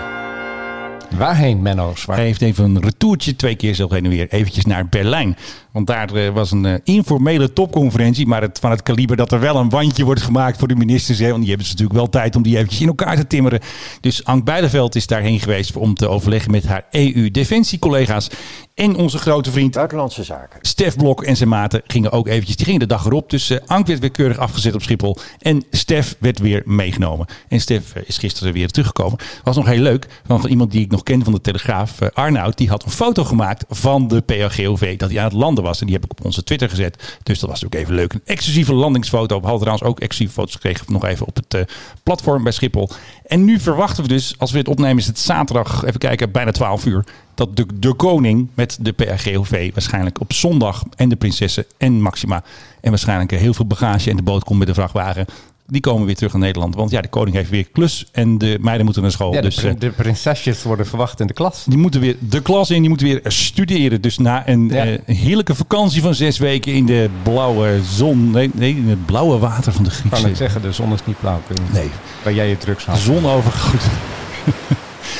[SPEAKER 4] Waarheen, Menno? Zwart?
[SPEAKER 3] Hij heeft even een retourtje, twee keer zelf heen en weer, eventjes naar Berlijn. Want daar eh, was een eh, informele topconferentie, maar het, van het kaliber dat er wel een wandje wordt gemaakt voor de ministers. Hè, want die hebben ze natuurlijk wel tijd om die eventjes in elkaar te timmeren. Dus Ank Beideveld is daarheen geweest om te overleggen met haar EU-defensiecollega's. En onze grote vriend
[SPEAKER 12] Buitenlandse zaken.
[SPEAKER 3] Stef Blok en zijn maten gingen ook eventjes. Die gingen de dag erop. Dus eh, Ank werd weer keurig afgezet op Schiphol. En Stef werd weer meegenomen. En Stef eh, is gisteren weer teruggekomen. Was nog heel leuk. Want van iemand die ik nog ken van de Telegraaf, eh, Arnoud, die had een foto gemaakt van de PHGOV. Dat hij aan het landen was. En die heb ik op onze Twitter gezet. Dus dat was ook even leuk. Een exclusieve landingsfoto. We hadden trouwens ook exclusieve foto's gekregen. Nog even op het eh, platform bij Schiphol. En nu verwachten we dus, als we het opnemen, is het zaterdag, even kijken, bijna 12 uur dat de, de koning met de PRGOV waarschijnlijk op zondag en de prinsessen en Maxima en waarschijnlijk heel veel bagage en de boot komt met de vrachtwagen. Die komen weer terug naar Nederland. Want ja, de koning heeft weer klus en de meiden moeten naar school.
[SPEAKER 4] Ja, de,
[SPEAKER 3] dus eh,
[SPEAKER 4] prin- de prinsesjes worden verwacht in de klas.
[SPEAKER 3] die moeten weer de klas in, die moeten weer studeren. Dus na een
[SPEAKER 4] Ja.
[SPEAKER 3] eh, heerlijke vakantie van zes weken in de blauwe zon. Nee, nee in het blauwe water van de
[SPEAKER 4] Kan
[SPEAKER 3] Griekse.
[SPEAKER 4] ik zeggen, de zon is niet blauw. Pim.
[SPEAKER 3] Nee.
[SPEAKER 4] Waar jij je drugs had.
[SPEAKER 3] Zonovergroot.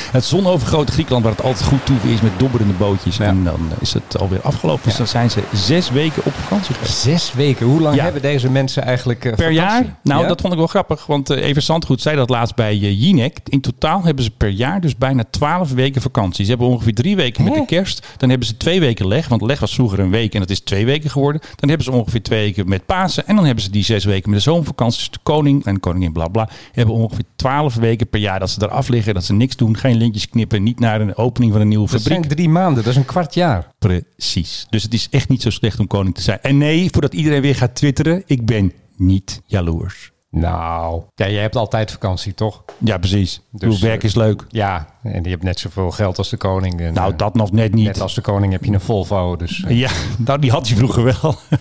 [SPEAKER 3] Het zonovergrote Griekenland, waar het altijd goed toe is met dobberende bootjes.
[SPEAKER 4] Ja.
[SPEAKER 3] En dan is het alweer afgelopen. Dus dan zijn ze zes weken op vakantie geweest.
[SPEAKER 4] Zes weken. Hoe lang
[SPEAKER 3] Ja.
[SPEAKER 4] hebben deze mensen eigenlijk eh,
[SPEAKER 3] Per
[SPEAKER 4] vakantie?
[SPEAKER 3] jaar? Nou,
[SPEAKER 4] Ja?
[SPEAKER 3] dat vond ik wel grappig. Want eh, Evert Zandgoed zei dat laatst bij eh, Jinek. In totaal hebben ze per jaar dus bijna twaalf weken vakantie. Ze hebben ongeveer drie weken
[SPEAKER 4] Oh.
[SPEAKER 3] met de kerst. Dan hebben ze twee weken leg. Want leg was vroeger een week en dat is twee weken geworden. Dan hebben ze ongeveer twee weken met Pasen. En dan hebben ze die zes weken met de zomervakantie. Dus de koning en de koningin bla bla. Hebben ongeveer twaalf weken per jaar dat ze eraf liggen. Dat ze niks doen. Geen lintjes knippen. Niet naar een opening van een nieuwe
[SPEAKER 4] dat
[SPEAKER 3] fabriek.
[SPEAKER 4] zijn drie maanden. Dat is een kwart jaar.
[SPEAKER 3] Precies. Dus het is echt niet zo slecht om koning te zijn. En nee, voordat iedereen weer gaat twitteren. Ik ben niet jaloers.
[SPEAKER 4] Nou. Ja, jij hebt altijd vakantie, toch?
[SPEAKER 3] Ja, precies.
[SPEAKER 4] Dus,
[SPEAKER 3] Uw werk
[SPEAKER 4] eh,
[SPEAKER 3] is leuk.
[SPEAKER 4] Ja. En je hebt net zoveel geld als de koning. En,
[SPEAKER 3] Nou,
[SPEAKER 4] eh,
[SPEAKER 3] dat nog net niet.
[SPEAKER 4] Net als de koning heb je een Volvo. Dus, eh,
[SPEAKER 3] Ja, nou, die had hij vroeger wel.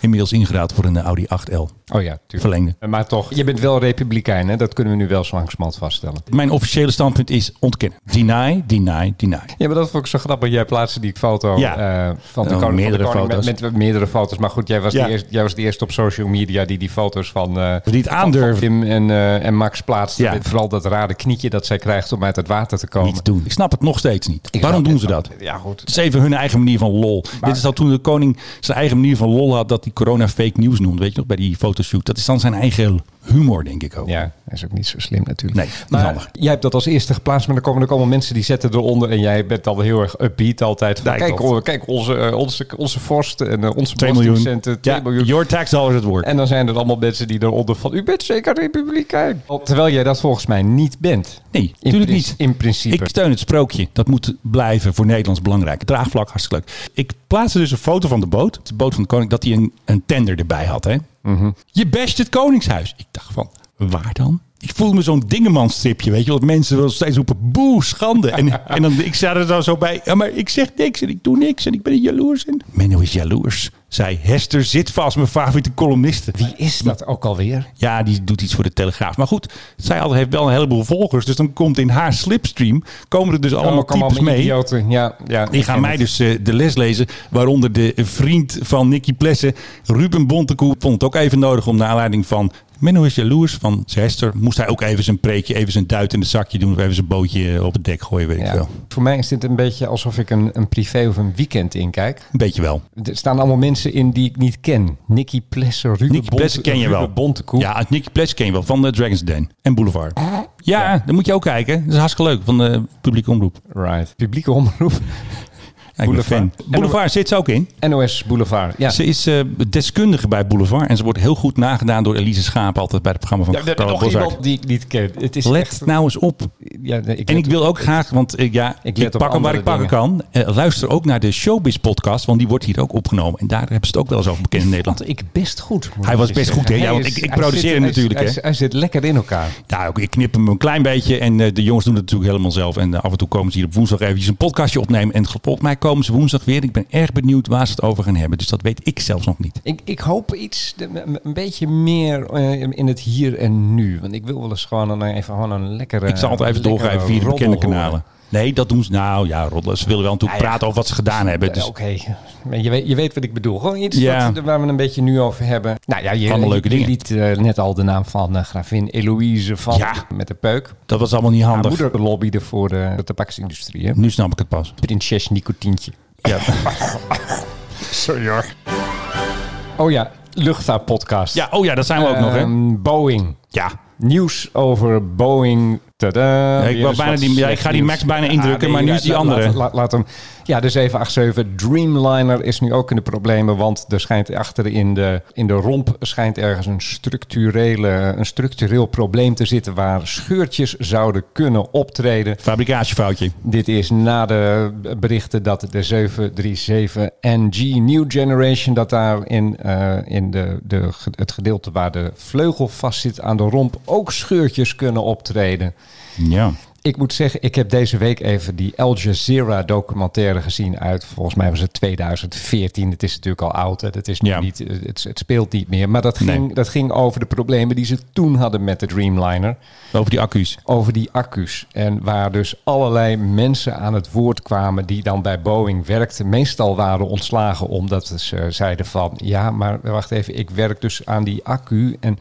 [SPEAKER 3] Inmiddels ingeruild voor een eh, Audi 8L.
[SPEAKER 4] oh ja, tuurlijk.
[SPEAKER 3] Verlengde.
[SPEAKER 4] Eh, Maar toch, je bent wel republikein, hè? Dat kunnen we nu wel zo langzamerhand vaststellen.
[SPEAKER 3] Mijn officiële standpunt is ontkennen. Deny, deny, deny.
[SPEAKER 4] Ja, maar dat vond ik zo grappig. Jij plaatste die foto
[SPEAKER 3] Ja.
[SPEAKER 4] eh, van de
[SPEAKER 3] Oh,
[SPEAKER 4] koning, van de
[SPEAKER 3] meerdere
[SPEAKER 4] koning
[SPEAKER 3] foto's.
[SPEAKER 4] Met, met meerdere foto's. Maar goed, jij was,
[SPEAKER 3] Ja.
[SPEAKER 4] de eerste, jij was de eerste op social media die die foto's van... eh,
[SPEAKER 3] Die het aandurven.
[SPEAKER 4] Tim en, eh, en Max plaatste.
[SPEAKER 3] Ja.
[SPEAKER 4] Met Vooral dat rare knietje dat zij krijgt om uit het water te komen.
[SPEAKER 3] Niet doen. Ik snap het nog steeds niet.
[SPEAKER 4] Ik
[SPEAKER 3] Waarom
[SPEAKER 4] snap
[SPEAKER 3] doen
[SPEAKER 4] het
[SPEAKER 3] ze
[SPEAKER 4] wel.
[SPEAKER 3] dat?
[SPEAKER 4] Ja, goed.
[SPEAKER 3] Het is even hun eigen manier van lol. Dit is al toen de koning zijn eigen manier van lol had... dat hij corona fake news noemde. Weet je nog, bij die fotoshoot. Dat is dan zijn eigen humor, denk ik ook.
[SPEAKER 4] Ja, dat is ook niet zo slim natuurlijk.
[SPEAKER 3] Nee, niet handig.
[SPEAKER 4] maar jij hebt dat als eerste geplaatst, maar dan komen er komen mensen die zetten eronder en jij bent al heel erg upbeat altijd. Van,
[SPEAKER 3] Ja,
[SPEAKER 4] kijk,
[SPEAKER 3] klopt.
[SPEAKER 4] oh, kijk, onze, eh, onze, onze vorst en eh, onze
[SPEAKER 3] 2 miljoen.
[SPEAKER 4] belastingcenten, 2
[SPEAKER 3] ja,
[SPEAKER 4] miljoen.
[SPEAKER 3] Your tax dollars het woord.
[SPEAKER 4] En dan zijn er allemaal mensen die eronder van, u bent zeker republikein. Terwijl jij dat volgens mij niet bent.
[SPEAKER 3] Nee,
[SPEAKER 4] In
[SPEAKER 3] natuurlijk
[SPEAKER 4] prin-
[SPEAKER 3] niet.
[SPEAKER 4] In principe.
[SPEAKER 3] Ik steun het sprookje. Dat moet blijven voor Nederlands belangrijk. Het Draagvlak, hartstikke leuk. Ik plaatste dus een foto van de boot. De boot van de koning. Dat hij een, een tender erbij had. Hè?
[SPEAKER 4] Mhm.
[SPEAKER 3] Je best het koningshuis. Ik dacht van, waar dan? Ik voelde me zo'n dingemanstripje, weet je. Want mensen wel steeds roepen, boe, schande. En, en dan, ik sta er dan zo bij, ja, maar ik zeg niks en ik doe niks en ik ben er jaloers. En Menno is jaloers, zei Hester zit vast, mijn favoriete columniste.
[SPEAKER 4] Wie is dat ook alweer?
[SPEAKER 3] Ja, die doet iets voor de Telegraaf. Maar goed, zij al- heeft wel een heleboel volgers. Dus dan komt in haar slipstream, komen er dus allemaal
[SPEAKER 4] Ook allemaal
[SPEAKER 3] types mee.
[SPEAKER 4] idioten. Ja, ja,
[SPEAKER 3] Die
[SPEAKER 4] ik
[SPEAKER 3] gaan
[SPEAKER 4] ken
[SPEAKER 3] mij
[SPEAKER 4] het.
[SPEAKER 3] dus eh, de les lezen. Waaronder de vriend van Nicky Plessen, Ruben Bontekoe, vond het ook even nodig om naar aanleiding van Menno is jaloers van Zester. Moest hij ook even zijn preekje, even zijn duit in het zakje doen. Of even zijn bootje eh, op het dek gooien, weet ik
[SPEAKER 4] Ja.
[SPEAKER 3] veel.
[SPEAKER 4] Voor mij is dit een beetje alsof ik een, een privé of een weekend inkijk.
[SPEAKER 3] Een beetje wel.
[SPEAKER 4] Er staan allemaal mensen in die ik niet ken. Nicky Plesser, Ruben
[SPEAKER 3] Nicky
[SPEAKER 4] Bonte-
[SPEAKER 3] Plessen ken je
[SPEAKER 4] Ruben
[SPEAKER 3] wel.
[SPEAKER 4] Bontekoe.
[SPEAKER 3] Ja, uit Nicky Plessen ken je wel. Van de Dragons Den en Boulevard. Ja, dat moet je ook kijken. Dat is hartstikke leuk van de publieke eh, omroep.
[SPEAKER 4] Right. Publieke omroep.
[SPEAKER 3] ik ben fan. Boulevard zit ze ook in.
[SPEAKER 4] NOS Boulevard, ja.
[SPEAKER 3] Ze is eh, deskundige bij Boulevard en ze wordt heel goed nagedaan door Elise Schaap altijd bij het programma van
[SPEAKER 4] Ja, we hebben
[SPEAKER 3] Carlo
[SPEAKER 4] nog
[SPEAKER 3] Boszart.
[SPEAKER 4] iemand die ik niet ken. Het is
[SPEAKER 3] Oh, Let
[SPEAKER 4] echt...
[SPEAKER 3] nou eens op.
[SPEAKER 4] Ja, nee, ik
[SPEAKER 3] en
[SPEAKER 4] let
[SPEAKER 3] ik wil ook graag, want eh, ja,
[SPEAKER 4] Ik
[SPEAKER 3] ik,
[SPEAKER 4] let op
[SPEAKER 3] pak hem waar ik
[SPEAKER 4] andere
[SPEAKER 3] pakken kan. Eh, luister ook naar de Showbiz podcast, want die wordt hier ook opgenomen. En daar hebben ze het ook wel eens over bekend in Nederland.
[SPEAKER 4] vond ik best goed. moet
[SPEAKER 3] Hij was
[SPEAKER 4] ik
[SPEAKER 3] best
[SPEAKER 4] zeggen.
[SPEAKER 3] goed, hè?
[SPEAKER 4] Hij
[SPEAKER 3] Ja, want
[SPEAKER 4] is-
[SPEAKER 3] ik- ik
[SPEAKER 4] hij
[SPEAKER 3] produceer
[SPEAKER 4] zit-
[SPEAKER 3] hem
[SPEAKER 4] hij is-
[SPEAKER 3] natuurlijk,
[SPEAKER 4] hij
[SPEAKER 3] hè.
[SPEAKER 4] is- Hij zit lekker in elkaar.
[SPEAKER 3] Nou, ik- ik knip hem een klein beetje en eh, de jongens doen het natuurlijk helemaal zelf. En eh, af en toe komen ze hier op woensdag eventjes een podcastje opnemen. En volgens mij komen ze woensdag weer. Ik ben erg benieuwd waar ze het over gaan hebben. Dus dat weet ik zelfs nog niet.
[SPEAKER 4] Ik, ik hoop iets, de- een een beetje meer eh, in het hier en nu. Want ik wil wel eens gewoon een, even gewoon een lekkere.
[SPEAKER 3] ik zal het even
[SPEAKER 4] lekkere
[SPEAKER 3] doorgeven via de
[SPEAKER 4] roddel
[SPEAKER 3] bekende
[SPEAKER 4] horen.
[SPEAKER 3] kanalen. Nee, dat doen ze. Nou ja, roddelen. Ze willen wel natuurlijk
[SPEAKER 4] Ah, Ja, ja.
[SPEAKER 3] praten over wat ze gedaan hebben.
[SPEAKER 4] Eh,
[SPEAKER 3] Dus
[SPEAKER 4] Oké, Maar je, weet, je weet wat ik bedoel. Gewoon iets
[SPEAKER 3] Ja.
[SPEAKER 4] wat, waar we een beetje nu over hebben. Nou ja, je,
[SPEAKER 3] Allemaal leuke
[SPEAKER 4] je
[SPEAKER 3] dingen.
[SPEAKER 4] liet eh, net al de naam van eh, gravin Eloïse van
[SPEAKER 3] Ja.
[SPEAKER 4] met de peuk.
[SPEAKER 3] dat was allemaal niet
[SPEAKER 4] Haar
[SPEAKER 3] handig.
[SPEAKER 4] moeder lobbyde voor eh, de, de tabaksindustrie. Hè?
[SPEAKER 3] Nu snap ik het pas.
[SPEAKER 4] Prinses Nicotientje.
[SPEAKER 3] Ja.
[SPEAKER 4] Sorry hoor. Oh ja, luchtvaartpodcast.
[SPEAKER 3] ja, oh ja, dat zijn we ook nog, hè?
[SPEAKER 4] Ehm, Boeing.
[SPEAKER 3] Ja.
[SPEAKER 4] Nieuws over Boeing. Tada.
[SPEAKER 3] ik
[SPEAKER 4] Weer
[SPEAKER 3] wou
[SPEAKER 4] eens
[SPEAKER 3] bijna
[SPEAKER 4] wat
[SPEAKER 3] die- ja,
[SPEAKER 4] slecht
[SPEAKER 3] ik ga die
[SPEAKER 4] nieuws.
[SPEAKER 3] Max bijna
[SPEAKER 4] Ah,
[SPEAKER 3] indrukken,
[SPEAKER 4] nee,
[SPEAKER 3] maar nu
[SPEAKER 4] ja,
[SPEAKER 3] is die
[SPEAKER 4] laat-
[SPEAKER 3] andere.
[SPEAKER 4] Laat, laat, laat hem. Ja, de 787 Dreamliner is nu ook in de problemen, want er schijnt achter in de, in de romp schijnt ergens een, structurele, een structureel probleem te zitten waar scheurtjes zouden kunnen optreden.
[SPEAKER 3] Fabrikagefoutje.
[SPEAKER 4] Dit is na de berichten dat de 737 NG New Generation, dat daar in, eh, in de, de, het gedeelte waar de vleugel vast zit aan de romp ook scheurtjes kunnen optreden.
[SPEAKER 3] Ja.
[SPEAKER 4] Ik moet zeggen, ik heb deze week even die Al Jazeera documentaire gezien uit, volgens mij was het 2014. Het is natuurlijk al oud, hè. Dat is nu
[SPEAKER 3] Ja.
[SPEAKER 4] niet, het, het speelt niet meer. Maar dat ging,
[SPEAKER 3] Nee.
[SPEAKER 4] dat ging over de problemen die ze toen hadden met de Dreamliner
[SPEAKER 3] Over die accu's.
[SPEAKER 4] over die accu's. En waar dus allerlei mensen aan het woord kwamen die dan bij Boeing werkten. Meestal waren ontslagen omdat ze eh, zeiden van... ja, maar wacht even, ik werk dus aan die accu... en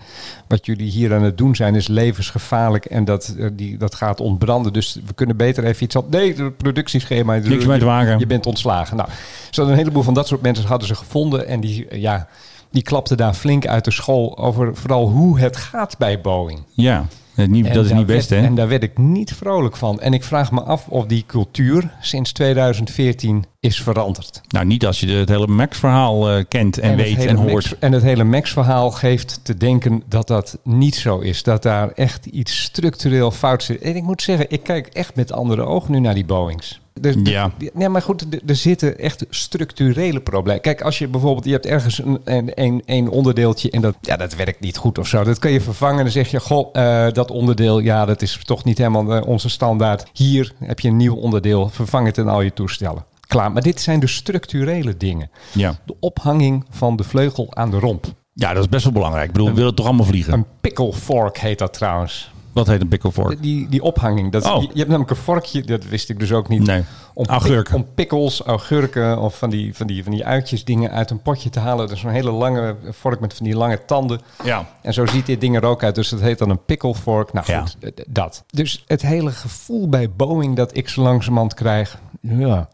[SPEAKER 4] wat jullie hier aan het doen zijn is levensgevaarlijk... en dat, eh, die, dat gaat ontbranden, dus we kunnen beter even iets... Op, nee, het productieschema...
[SPEAKER 3] Niks mee te maken.
[SPEAKER 4] Je bent ontslagen. Nou, ze hadden een heleboel van dat soort mensen hadden ze gevonden... en die, eh, ja, die klapten daar flink uit de school... over vooral hoe het gaat bij Boeing.
[SPEAKER 3] Ja. Eh, Niet,
[SPEAKER 4] En
[SPEAKER 3] dat is
[SPEAKER 4] daar
[SPEAKER 3] niet best,
[SPEAKER 4] werd-
[SPEAKER 3] hè?
[SPEAKER 4] En daar werd ik niet vrolijk van. En ik vraag me af of die cultuur sinds 2014 is veranderd.
[SPEAKER 3] Nou, niet als je de- het hele Max-verhaal eh, kent en,
[SPEAKER 4] het
[SPEAKER 3] weet
[SPEAKER 4] hele
[SPEAKER 3] en
[SPEAKER 4] Max-
[SPEAKER 3] hoort.
[SPEAKER 4] en het hele Max-verhaal geeft te denken dat dat niet zo is. Dat daar echt iets structureel fout zit. En ik moet zeggen, ik kijk echt met andere ogen nu naar die Boeings. Dus Er-
[SPEAKER 3] Ja.
[SPEAKER 4] er- ja, maar goed, er- er zitten echt structurele problemen. Kijk, als je bijvoorbeeld, je hebt ergens een, een, een, een onderdeeltje en dat, ja, dat werkt niet goed of zo. Dat kun je vervangen en dan zeg je, goh, eh, dat onderdeel, ja, dat is toch niet helemaal eh, onze standaard. Hier heb je een nieuw onderdeel, vervang het in al je toestellen. Klaar, maar dit zijn de structurele dingen.
[SPEAKER 3] Ja.
[SPEAKER 4] De ophanging van de vleugel aan de romp.
[SPEAKER 3] ja, dat is best wel belangrijk. Ik bedoel, we willen toch allemaal vliegen?
[SPEAKER 4] Een pickle fork heet dat trouwens.
[SPEAKER 3] Wat heet een pickle fork?
[SPEAKER 4] Die, die ophanging. Dat,
[SPEAKER 3] Oh.
[SPEAKER 4] je, je hebt namelijk een vorkje, dat wist ik dus ook niet.
[SPEAKER 3] Nee.
[SPEAKER 4] Om,
[SPEAKER 3] Augurken.
[SPEAKER 4] om pickles, augurken of van die, van, die, van die uitjes dingen uit een potje te halen. Dat is zo'n hele lange vork met van die lange tanden.
[SPEAKER 3] Ja.
[SPEAKER 4] En zo ziet dit ding er ook uit. Dus dat heet dan een pickle fork. Nou
[SPEAKER 3] Ja.
[SPEAKER 4] goed, eh, d- dat. Dus het hele gevoel bij Boeing dat ik zo langzamerhand krijg. Ja.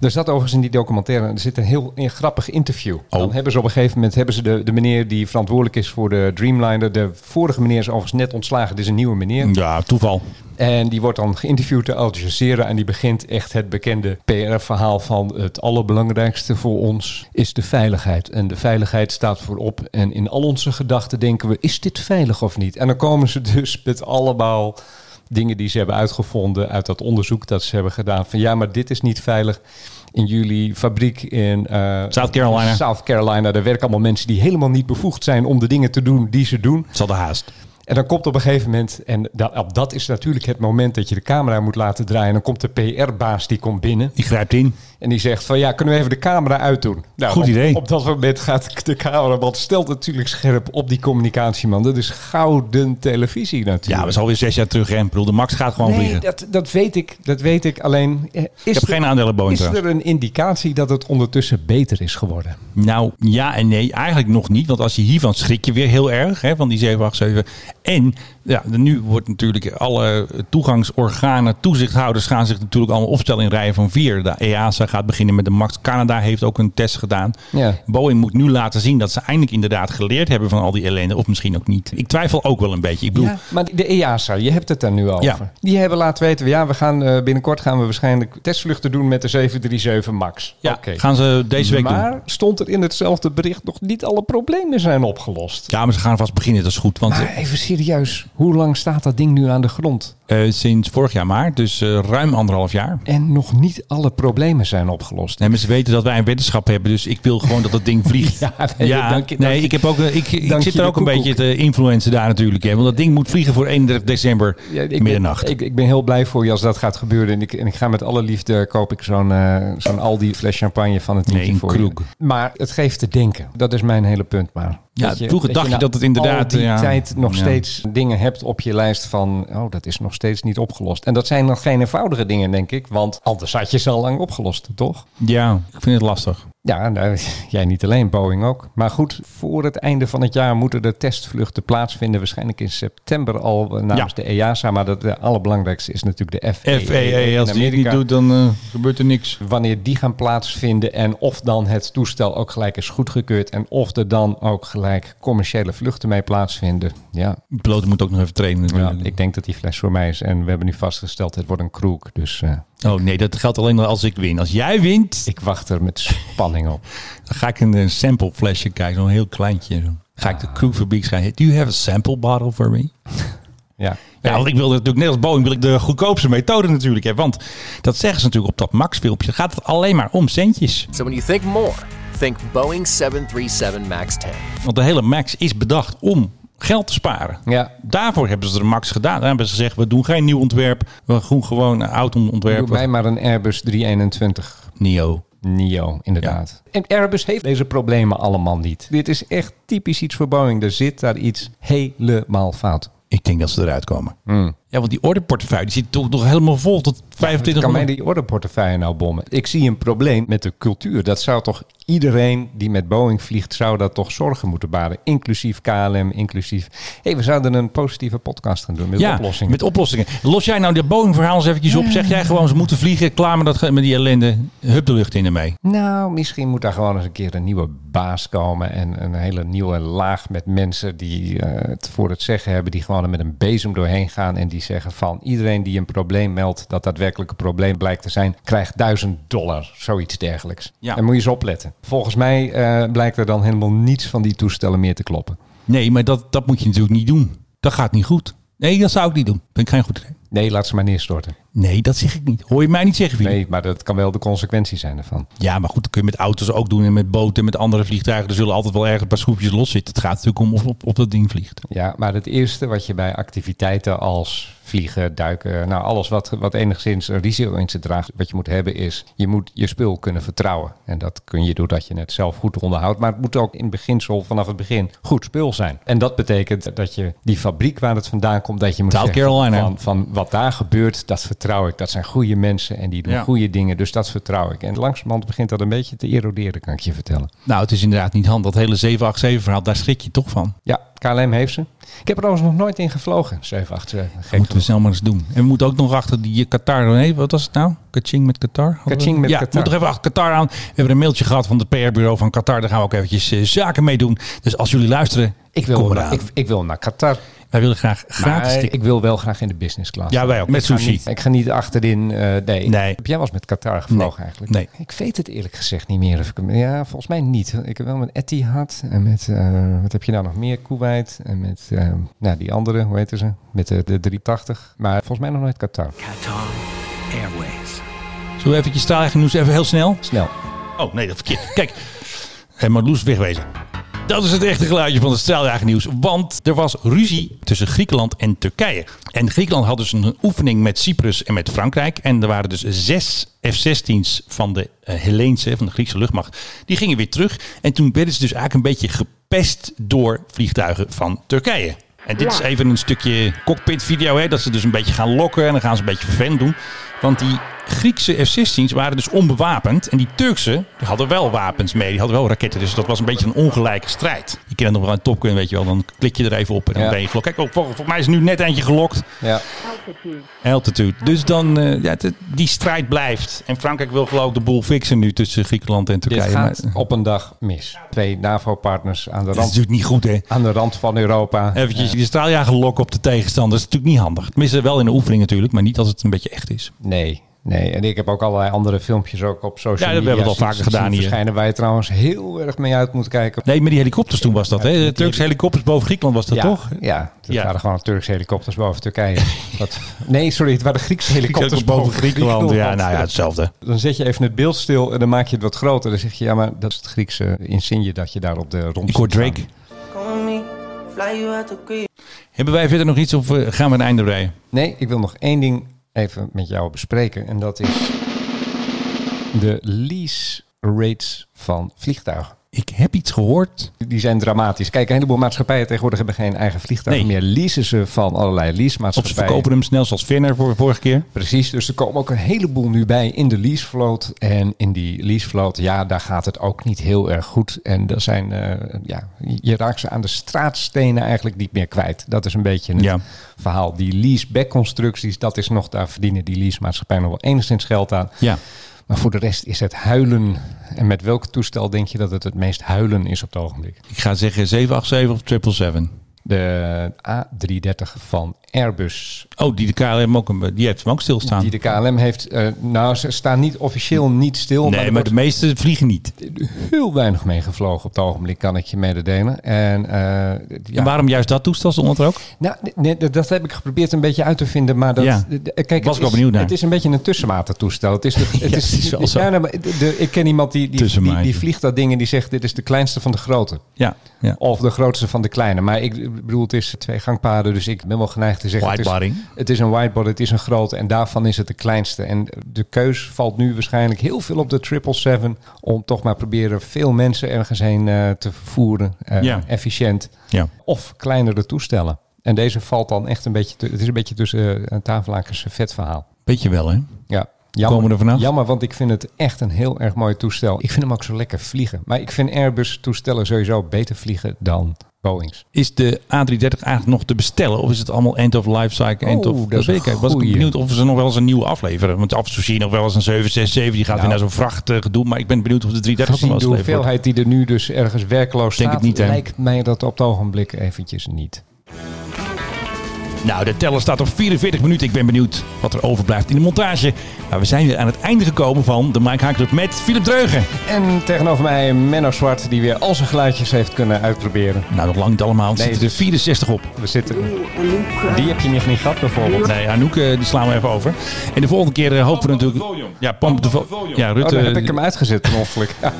[SPEAKER 4] Er zat overigens in die documentaire, er zit een heel een grappig interview.
[SPEAKER 3] Oh.
[SPEAKER 4] Dan hebben ze op een gegeven moment hebben ze de, de meneer die verantwoordelijk is voor de Dreamliner. De vorige meneer is overigens net ontslagen, dit is een nieuwe meneer.
[SPEAKER 3] Ja, toeval.
[SPEAKER 4] En die wordt dan geïnterviewd door Al Jazeera. En die begint echt het bekende PR-verhaal van het allerbelangrijkste voor ons is de veiligheid. En de veiligheid staat voorop. En in al onze gedachten denken we, is dit veilig of niet? En dan komen ze dus met allemaal dingen die ze hebben uitgevonden uit dat onderzoek dat ze hebben gedaan. Van ja, maar dit is niet veilig. In jullie fabriek in eh,
[SPEAKER 3] South Carolina.
[SPEAKER 4] South Carolina, daar werken allemaal mensen die helemaal niet bevoegd zijn om de dingen te doen die ze doen.
[SPEAKER 3] Het zal de haast.
[SPEAKER 4] En dan komt op een gegeven moment, en dat, op dat is natuurlijk het moment dat je de camera moet laten draaien. En dan komt de PR-baas die komt binnen
[SPEAKER 3] Die grijpt in.
[SPEAKER 4] en die zegt van ja, kunnen we even de camera uitdoen? Nou,
[SPEAKER 3] Goed
[SPEAKER 4] op-
[SPEAKER 3] idee.
[SPEAKER 4] Op, dat moment gaat de cameraman, stelt natuurlijk scherp op die communicatieman. Dat is gouden televisie
[SPEAKER 3] Ja,
[SPEAKER 4] natuurlijk.
[SPEAKER 3] dat is alweer zes jaar terug, hè? Ik bedoel, de Max gaat gewoon
[SPEAKER 4] nee,
[SPEAKER 3] vliegen.
[SPEAKER 4] dat, dat weet ik. Dat weet ik. Alleen eh,
[SPEAKER 3] Ik
[SPEAKER 4] is,
[SPEAKER 3] heb
[SPEAKER 4] er,
[SPEAKER 3] geen aandelen Boeing
[SPEAKER 4] is
[SPEAKER 3] trouwens.
[SPEAKER 4] er een indicatie dat het ondertussen beter is geworden?
[SPEAKER 3] Nou, ja en nee. Eigenlijk nog niet. Want als je hiervan schrik je weer heel erg. Hè, van die 787. En Ja, de- nu wordt natuurlijk alle toegangsorganen, toezichthouders gaan zich natuurlijk allemaal opstellen in rijen van vier. De E EASA gaat beginnen met de macht. Canada heeft ook een test gedaan.
[SPEAKER 4] Ja.
[SPEAKER 3] Boeing moet nu laten zien dat ze eindelijk inderdaad geleerd hebben van al die ellende. Of misschien ook niet. Ik twijfel ook wel een beetje. Ik bedoel,
[SPEAKER 4] Ja, maar de E EASA, je hebt het daar nu over.
[SPEAKER 3] Ja.
[SPEAKER 4] Die hebben laten weten, ja, we gaan, eh, binnenkort gaan we waarschijnlijk testvluchten doen met de 737 MAX.
[SPEAKER 3] ja,
[SPEAKER 4] Oké.
[SPEAKER 3] gaan ze deze week
[SPEAKER 4] maar
[SPEAKER 3] doen.
[SPEAKER 4] stond er in hetzelfde bericht nog niet alle problemen zijn opgelost.
[SPEAKER 3] Ja, maar ze gaan vast beginnen, dat is goed. Want
[SPEAKER 4] Maar even serieus, hoe lang staat dat ding nu aan de grond?
[SPEAKER 3] eh, sinds vorig jaar maart, dus eh, ruim anderhalf jaar.
[SPEAKER 4] En nog niet alle problemen zijn opgelost.
[SPEAKER 3] Nee, maar ze weten dat wij een weddenschap hebben, dus ik wil gewoon dat dat ding vliegt.
[SPEAKER 4] Ja, nee, dank je- dank
[SPEAKER 3] nee,
[SPEAKER 4] je-
[SPEAKER 3] ik, heb ook, eh, ik, ik
[SPEAKER 4] dank
[SPEAKER 3] zit
[SPEAKER 4] je
[SPEAKER 3] er
[SPEAKER 4] de
[SPEAKER 3] ook een
[SPEAKER 4] koekoek.
[SPEAKER 3] beetje te influencen daar natuurlijk. Hè, want dat ding moet vliegen voor 31 december
[SPEAKER 4] Ja, ik
[SPEAKER 3] middernacht.
[SPEAKER 4] Ben, ik, ik ben heel blij voor je als dat gaat gebeuren. En ik, en ik ga met alle liefde koop ik zo'n eh, zo'n Aldi fles champagne van het
[SPEAKER 3] Nee,
[SPEAKER 4] tientje
[SPEAKER 3] een
[SPEAKER 4] voor je.
[SPEAKER 3] kroeg.
[SPEAKER 4] Maar het geeft te denken. Dat is mijn hele punt maar.
[SPEAKER 3] Ja,
[SPEAKER 4] Dat
[SPEAKER 3] vroeger dacht je
[SPEAKER 4] na
[SPEAKER 3] dat het inderdaad,
[SPEAKER 4] al die
[SPEAKER 3] ja.
[SPEAKER 4] tijd nog
[SPEAKER 3] Ja.
[SPEAKER 4] steeds dingen hebt op je lijst van... oh, dat is nog steeds niet opgelost. En dat zijn nog geen eenvoudige dingen, denk ik. Want anders had je ze al lang opgelost, toch?
[SPEAKER 3] ja, ik vind het lastig.
[SPEAKER 4] Ja, nou, jij niet alleen, Boeing ook. Maar goed, voor het einde van het jaar moeten de testvluchten plaadsvinden. Waarschijnlijk in september al eh, namens de EASA. Maar dat- de allerbelangrijkste is natuurlijk de FAA.
[SPEAKER 3] FEE,
[SPEAKER 4] in
[SPEAKER 3] E als die het niet
[SPEAKER 4] Amerika.
[SPEAKER 3] doet, dan eh, gebeurt er niks.
[SPEAKER 4] Wanneer die gaan plaatsvinden en of dan het toestel ook gelijk is goedgekeurd. En of er dan ook gelijk commerciële vluchten mee plaatsvinden. Ja,
[SPEAKER 3] De piloot moet ook nog even trainen
[SPEAKER 4] ja
[SPEAKER 3] natuurlijk.
[SPEAKER 4] ik denk dat die fles voor mij is. En we hebben nu vastgesteld, het wordt een kroeg. Dus eh,
[SPEAKER 3] Oh nee, dat geldt alleen maar als ik win. Als jij wint,
[SPEAKER 4] ik wacht er met spanning op.
[SPEAKER 3] dan ga ik een eh, sample flesje kijken, zo'n heel kleintje. zo. Ga ik de
[SPEAKER 4] Ah.
[SPEAKER 3] crewfabriek schrijven, do you have a sample bottle for me?
[SPEAKER 4] Ja,
[SPEAKER 3] Ja, want ik wil natuurlijk net als Boeing wil ik de goedkoopste methode natuurlijk hebben. Want dat zeggen ze natuurlijk op dat Max filmpje. Gaat het alleen maar om centjes.
[SPEAKER 12] So when you think more, think Boeing 737 MAX 10.
[SPEAKER 3] Want de hele Max is bedacht om geld te sparen.
[SPEAKER 4] ja.
[SPEAKER 3] Daarvoor hebben ze de Max gedaan. Daar hebben ze gezegd, we doen geen nieuw ontwerp. We doen gewoon een oud
[SPEAKER 4] Doe
[SPEAKER 3] ontwerp.
[SPEAKER 4] mij maar een Airbus 321
[SPEAKER 3] Neo.
[SPEAKER 4] NIO, inderdaad. En Airbus heeft deze problemen allemaal niet. Dit is echt typisch iets voor Boeing. Er zit daar iets helemaal fout.
[SPEAKER 3] Ik denk dat ze eruit komen.
[SPEAKER 4] Hmm.
[SPEAKER 3] Ja, want die orderportefeuille die zit toch nog helemaal vol tot 25
[SPEAKER 4] Kan mij die orderportefeuille nou bommen? Ik zie een probleem met de cultuur. Dat zou toch iedereen die met Boeing vliegt, zou dat toch zorgen moeten baren. Inclusief KLM, inclusief... Hé, we zouden een positieve podcast gaan doen met
[SPEAKER 3] ja,
[SPEAKER 4] oplossingen.
[SPEAKER 3] met oplossingen. Los jij nou dat Boeing-verhaal eens eventjes op. Zeg jij gewoon, ze moeten vliegen. Klaar met, dat, ge- met die ellende. Hup de lucht in ermee.
[SPEAKER 4] Nou, misschien moet daar gewoon eens een keer een nieuwe baas komen. En een hele nieuwe laag met mensen die eh, het voor het zeggen hebben. Die gewoon er met een bezem doorheen gaan. En die zeggen van iedereen die een probleem meldt. dat daadwerkelijk een probleem blijkt te zijn. krijgt 1000 dollar. Zoiets dergelijks.
[SPEAKER 3] Ja.
[SPEAKER 4] En moet je eens opletten. Volgens mij eh, blijkt er dan helemaal niets van die toestellen meer te kloppen.
[SPEAKER 3] Nee, maar dat, dat moet je natuurlijk niet doen. Dat gaat niet goed. Nee, dat zou ik niet doen. Ben ik geen goed idee.
[SPEAKER 4] Nee, laat ze maar neerstorten.
[SPEAKER 3] Nee, dat zeg ik niet. Hoor je mij niet zeggen, Filip?
[SPEAKER 4] Nee, maar dat kan wel de consequentie zijn ervan.
[SPEAKER 3] Ja, maar goed, dat kun je met auto's ook doen en met boten en met andere vliegtuigen. Er zullen altijd wel ergens een paar schroepjes los zitten. Het gaat natuurlijk om of op, op dat ding vliegt.
[SPEAKER 4] Ja, maar het eerste wat je bij activiteiten als vliegen, duiken, nou alles wat, wat enigszins een risico in zich draagt, wat je moet hebben is, je moet je spul kunnen vertrouwen. En dat kun je doordat je het zelf goed onderhoudt, maar het moet ook in beginsel vanaf het begin goed spul zijn. En dat betekent dat je die fabriek waar het vandaan komt, dat je moet
[SPEAKER 3] South
[SPEAKER 4] zeggen
[SPEAKER 3] Carolina.
[SPEAKER 4] Van, van wat daar gebeurt, dat vertrouw ik. Dat zijn goede mensen en die doen
[SPEAKER 3] Ja.
[SPEAKER 4] goede dingen, dus dat vertrouw ik. En langzamerhand begint dat een beetje te eroderen, kan ik je vertellen.
[SPEAKER 3] Nou, het is inderdaad niet handig. Dat hele 787 verhaal, daar schrik je toch van.
[SPEAKER 4] Ja, KLM heeft ze. Ik heb er overigens nog nooit in gevlogen, 787.
[SPEAKER 3] Dat
[SPEAKER 4] Gek
[SPEAKER 3] moeten we snel maar eens doen. En we moeten ook nog achter die eh, Qatar... Nee, wat was het nou? Kaching met Qatar? Hadden we-
[SPEAKER 4] Kaching met
[SPEAKER 3] ja,
[SPEAKER 4] Qatar.
[SPEAKER 3] we moeten nog even achter Qatar aan. We hebben een mailtje gehad van het PR-bureau van Qatar. Daar gaan we ook eventjes eh, zaken mee doen. Dus als jullie luisteren,
[SPEAKER 4] Ik wil,
[SPEAKER 3] kom
[SPEAKER 4] wel-
[SPEAKER 3] eraan.
[SPEAKER 4] ik, ik wil naar Qatar.
[SPEAKER 3] Wij willen graag gratis
[SPEAKER 4] Maar
[SPEAKER 3] tickets.
[SPEAKER 4] ik wil wel graag in de business class.
[SPEAKER 3] Ja, wij ook.
[SPEAKER 4] Ik
[SPEAKER 3] Met
[SPEAKER 4] ga
[SPEAKER 3] sushi.
[SPEAKER 4] niet- ik ga niet achterin. eh, nee.
[SPEAKER 3] Nee.
[SPEAKER 4] Heb jij wel eens met Qatar gevlogen
[SPEAKER 3] Nee.
[SPEAKER 4] eigenlijk?
[SPEAKER 3] Nee.
[SPEAKER 4] Ik weet het eerlijk gezegd niet meer. Of ik, hem- ja, volgens mij niet. Ik heb wel met Etihad en met, eh, wat heb je nou nog meer? Kuwait en met, eh, nou die andere, hoe heette ze? Met de, de 380. Maar volgens mij nog nooit Qatar.
[SPEAKER 11] Qatar Airways.
[SPEAKER 3] Zullen we eventjes staan nieuws even heel snel?
[SPEAKER 4] Snel.
[SPEAKER 3] Oh nee, dat verkeerd. Kijk, hey, Marloes wegwezen. Dat is het echte geluidje van het straaljagen nieuws. Want er was ruzie tussen Griekenland en Turkije. En Griekenland had dus een oefening met Cyprus en met Frankrijk. En er waren dus zes F-16's van de eh, Hellenische, van de Griekse luchtmacht. Die gingen weer terug. En toen werden ze dus eigenlijk een beetje gepest door vliegtuigen van Turkije. En dit is even een stukje cockpitvideo, hè, dat ze dus een beetje gaan lokken en dan gaan ze een beetje vervelend doen. Want die Griekse F-16's waren dus onbewapend. En die Turkse die hadden wel wapens mee. Die hadden wel raketten. Dus dat was een beetje een ongelijke strijd. Je kent het nog wel een topkun, weet je wel. Dan klik je er even op en dan
[SPEAKER 4] Ja.
[SPEAKER 3] ben je gelokt. Kijk, oh, vol- volgens mij is er nu net eentje gelokt.
[SPEAKER 4] Ja.
[SPEAKER 3] Altitude. Dus dan, eh, ja, de- die strijd blijft. En Frankrijk wil geloof ik de boel fixen nu tussen Griekenland en
[SPEAKER 4] Dit
[SPEAKER 3] Turkije.
[SPEAKER 4] gaat
[SPEAKER 3] Maar-
[SPEAKER 4] op een dag mis. Twee NAVO-partners aan de
[SPEAKER 3] dat is
[SPEAKER 4] rand,
[SPEAKER 3] natuurlijk niet goed, hè?
[SPEAKER 4] aan de rand van Europa.
[SPEAKER 3] Eventjes die straaljager lokken op de tegenstander. Dat is natuurlijk niet handig. Tenminste, wel in de oefening natuurlijk, maar niet als het een beetje echt is.
[SPEAKER 4] Nee, nee. En ik heb ook allerlei andere filmpjes ook op social media.
[SPEAKER 3] Ja, dat hebben we al
[SPEAKER 4] zien-
[SPEAKER 3] vaker
[SPEAKER 4] zien
[SPEAKER 3] gedaan hier.
[SPEAKER 4] Verschijnen waar je trouwens heel erg mee uit moet kijken.
[SPEAKER 3] Nee, maar die helikopters toen was dat, hè? De Turkse helikopters boven Griekenland was dat
[SPEAKER 4] ja,
[SPEAKER 3] toch?
[SPEAKER 4] Ja, het
[SPEAKER 3] Ja.
[SPEAKER 4] waren gewoon Turkse helikopters boven Turkije. Dat, nee, sorry, het waren Griekse helikopters boven Griekenland.
[SPEAKER 3] Ja, nou ja, hetzelfde.
[SPEAKER 4] Dan zet je even het beeld stil en dan maak je het wat groter. Dan zeg je, ja, maar dat is het Griekse insigne dat je daar op de rond
[SPEAKER 3] Ik hoor
[SPEAKER 4] ziet
[SPEAKER 3] Drake.
[SPEAKER 4] gaan.
[SPEAKER 3] Hebben wij verder nog iets of eh, gaan we een einde breien?
[SPEAKER 4] Nee, ik wil nog één ding even met jou bespreken. En dat is de lease rates van vliegtuigen.
[SPEAKER 3] Ik heb iets gehoord.
[SPEAKER 4] Die zijn dramatisch. Kijk, een heleboel maatschappijen tegenwoordig hebben geen eigen vliegtuigen
[SPEAKER 3] Nee.
[SPEAKER 4] meer. Leasen ze van allerlei
[SPEAKER 3] Of ze
[SPEAKER 4] leasemaatschappijen.
[SPEAKER 3] verkopen hem snel zoals Vinner voor vorige keer.
[SPEAKER 4] Precies, dus er komen ook een heleboel nu bij in de leasevloot. En in die leasevloot, ja, daar gaat het ook niet heel erg goed. En dat zijn, eh, ja, je raakt ze aan de straatstenen eigenlijk niet meer kwijt. Dat is een beetje het
[SPEAKER 3] Ja.
[SPEAKER 4] verhaal. Die leaseback constructies, dat is nog, daar verdienen die leasemaatschappijen nog wel enigszins geld aan.
[SPEAKER 3] Ja.
[SPEAKER 4] Maar voor de rest is het huilen. En met welk toestel denk je dat het het meest huilen is op het ogenblik?
[SPEAKER 3] Ik ga zeggen 787 of 777.
[SPEAKER 4] De A330 van Airbus.
[SPEAKER 3] Oh, die de KLM ook, een- die heeft hem ook stilstaan.
[SPEAKER 4] Die de KLM heeft, eh, nou, ze staan niet officieel niet stil.
[SPEAKER 3] nee,
[SPEAKER 4] er
[SPEAKER 3] Oh, maar
[SPEAKER 4] wordt-
[SPEAKER 3] de meeste vliegen niet.
[SPEAKER 4] heel weinig mee gevlogen op het ogenblik, kan ik je mededelen. En, eh, ja.
[SPEAKER 3] En waarom juist dat toestel stond er ook?
[SPEAKER 4] Nou, nee, dat- dat heb ik geprobeerd een beetje uit te vinden, maar dat,
[SPEAKER 3] Ja.
[SPEAKER 4] d- d- kijk,
[SPEAKER 3] Was ik
[SPEAKER 4] het,
[SPEAKER 3] wel
[SPEAKER 4] is,
[SPEAKER 3] benieuwd naar.
[SPEAKER 4] het is een beetje een tussenmaten toestel. Het is, de, het
[SPEAKER 3] Ja, het is wel zo.
[SPEAKER 4] Ja, nee, maar de- de- ik ken iemand die, die, die,
[SPEAKER 3] Tussenmaatje.
[SPEAKER 4] die vliegt dat ding en die zegt dit is de kleinste van de grote.
[SPEAKER 3] Ja. ja.
[SPEAKER 4] Of de grootste van de kleine. Maar ik bedoel, het is twee gangpaden, dus ik ben wel geneigd te zeggen... het is-
[SPEAKER 3] Widebody.
[SPEAKER 4] het is een whiteboard, het is een grote en daarvan is het de kleinste. En de keus valt nu waarschijnlijk heel veel op de 777 om toch maar proberen veel mensen ergens heen eh, te vervoeren, eh,
[SPEAKER 3] Ja.
[SPEAKER 4] efficiënt.
[SPEAKER 3] Ja.
[SPEAKER 4] Of kleinere toestellen. En deze valt dan echt een beetje, tu- het is een beetje tussen eh, een tafelakens vet verhaal.
[SPEAKER 3] Beetje wel, hè?
[SPEAKER 4] Ja. Jammer,
[SPEAKER 3] Komen we er vanaf?
[SPEAKER 4] jammer, want ik vind het echt een heel erg mooi toestel. Ik vind hem ook zo lekker vliegen. Maar ik vind Airbus toestellen sowieso beter vliegen dan Boeings.
[SPEAKER 3] Is de A330 eigenlijk nog te bestellen? Of is het allemaal end of life cycle? End
[SPEAKER 4] Oh,
[SPEAKER 3] of,
[SPEAKER 4] dat
[SPEAKER 3] weet ik
[SPEAKER 4] is een
[SPEAKER 3] eigenlijk. Was ik
[SPEAKER 4] goeie.
[SPEAKER 3] benieuwd of ze nog wel eens een nieuwe afleveren. Want af en toe zie je nog wel eens een 767. Die gaat
[SPEAKER 4] Nou.
[SPEAKER 3] weer naar zo'n vrachtgedoe. Maar ik ben benieuwd of de 330 nog
[SPEAKER 4] Gezien
[SPEAKER 3] wel
[SPEAKER 4] de
[SPEAKER 3] eens geleverd wordt.
[SPEAKER 4] hoeveelheid die er nu dus ergens werkloos
[SPEAKER 3] Denk
[SPEAKER 4] staat,
[SPEAKER 3] het niet, hè?
[SPEAKER 4] lijkt mij dat op het ogenblik eventjes niet.
[SPEAKER 3] Nou, de teller staat op 44 minuten. Ik ben benieuwd wat er overblijft in de montage. Maar we zijn weer aan het einde gekomen van de Mike Haak Club met Philip Dreugen.
[SPEAKER 4] En tegenover mij Menno Zwart, die weer al zijn geluidjes heeft kunnen uitproberen.
[SPEAKER 3] Nou, nog lang niet allemaal. Er
[SPEAKER 4] Nee,
[SPEAKER 3] zitten er 64 op.
[SPEAKER 4] We zitten... Die heb je nog niet gehad bijvoorbeeld.
[SPEAKER 3] Nee, Anouk, eh, die slaan we even over. En de volgende keer eh, hopen we natuurlijk... Ja, pomp de vo- Ja,
[SPEAKER 4] Oh,
[SPEAKER 3] Rutte...
[SPEAKER 4] dan heb ik hem uitgezet per ongeluk. Ja.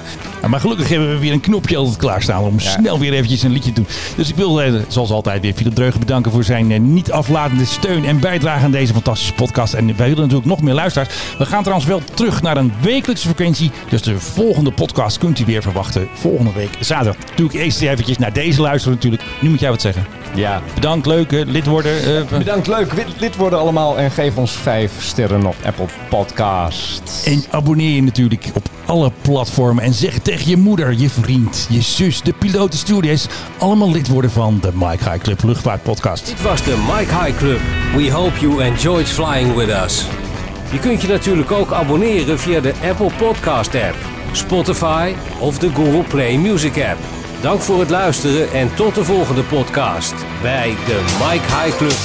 [SPEAKER 3] Ja, Maar gelukkig hebben we weer een knopje altijd klaarstaan om snel weer eventjes een liedje te doen. Dus ik wil, eh, zoals altijd, weer Philip Dreugen bedanken voor zijn eh, niet aflatende steun en bijdrage aan deze fantastische podcast. En wij willen natuurlijk nog meer luisteraars. We gaan trouwens wel terug naar een wekelijkse frequentie. Dus de volgende podcast kunt u weer verwachten volgende week zaterdag. Natuurlijk eerst eventjes naar deze luisteren natuurlijk. Nu moet jij wat zeggen.
[SPEAKER 4] ja.
[SPEAKER 3] Bedankt, leuk, eh, lid worden. eh,
[SPEAKER 4] Bedankt, leuk. Lid- Lid worden allemaal en geef ons vijf sterren op Apple Podcast.
[SPEAKER 3] En abonneer je natuurlijk op alle platformen. En zeg tegen je moeder, je vriend, je zus, de pilotenstewardess. Allemaal lid worden van de Mike High Club Luchtvaartpodcast.
[SPEAKER 11] Dit was de Mike High Club. We hope you enjoyed flying with us. Je kunt je natuurlijk ook abonneren via de Apple Podcast app, Spotify of de Google Play Music app. Dank voor het luisteren en tot de volgende podcast bij de Mike High Club.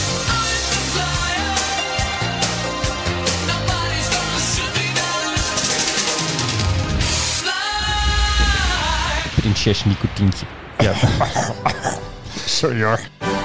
[SPEAKER 4] Prinses Nicotientje.
[SPEAKER 3] Ja.
[SPEAKER 4] Sorry hoor.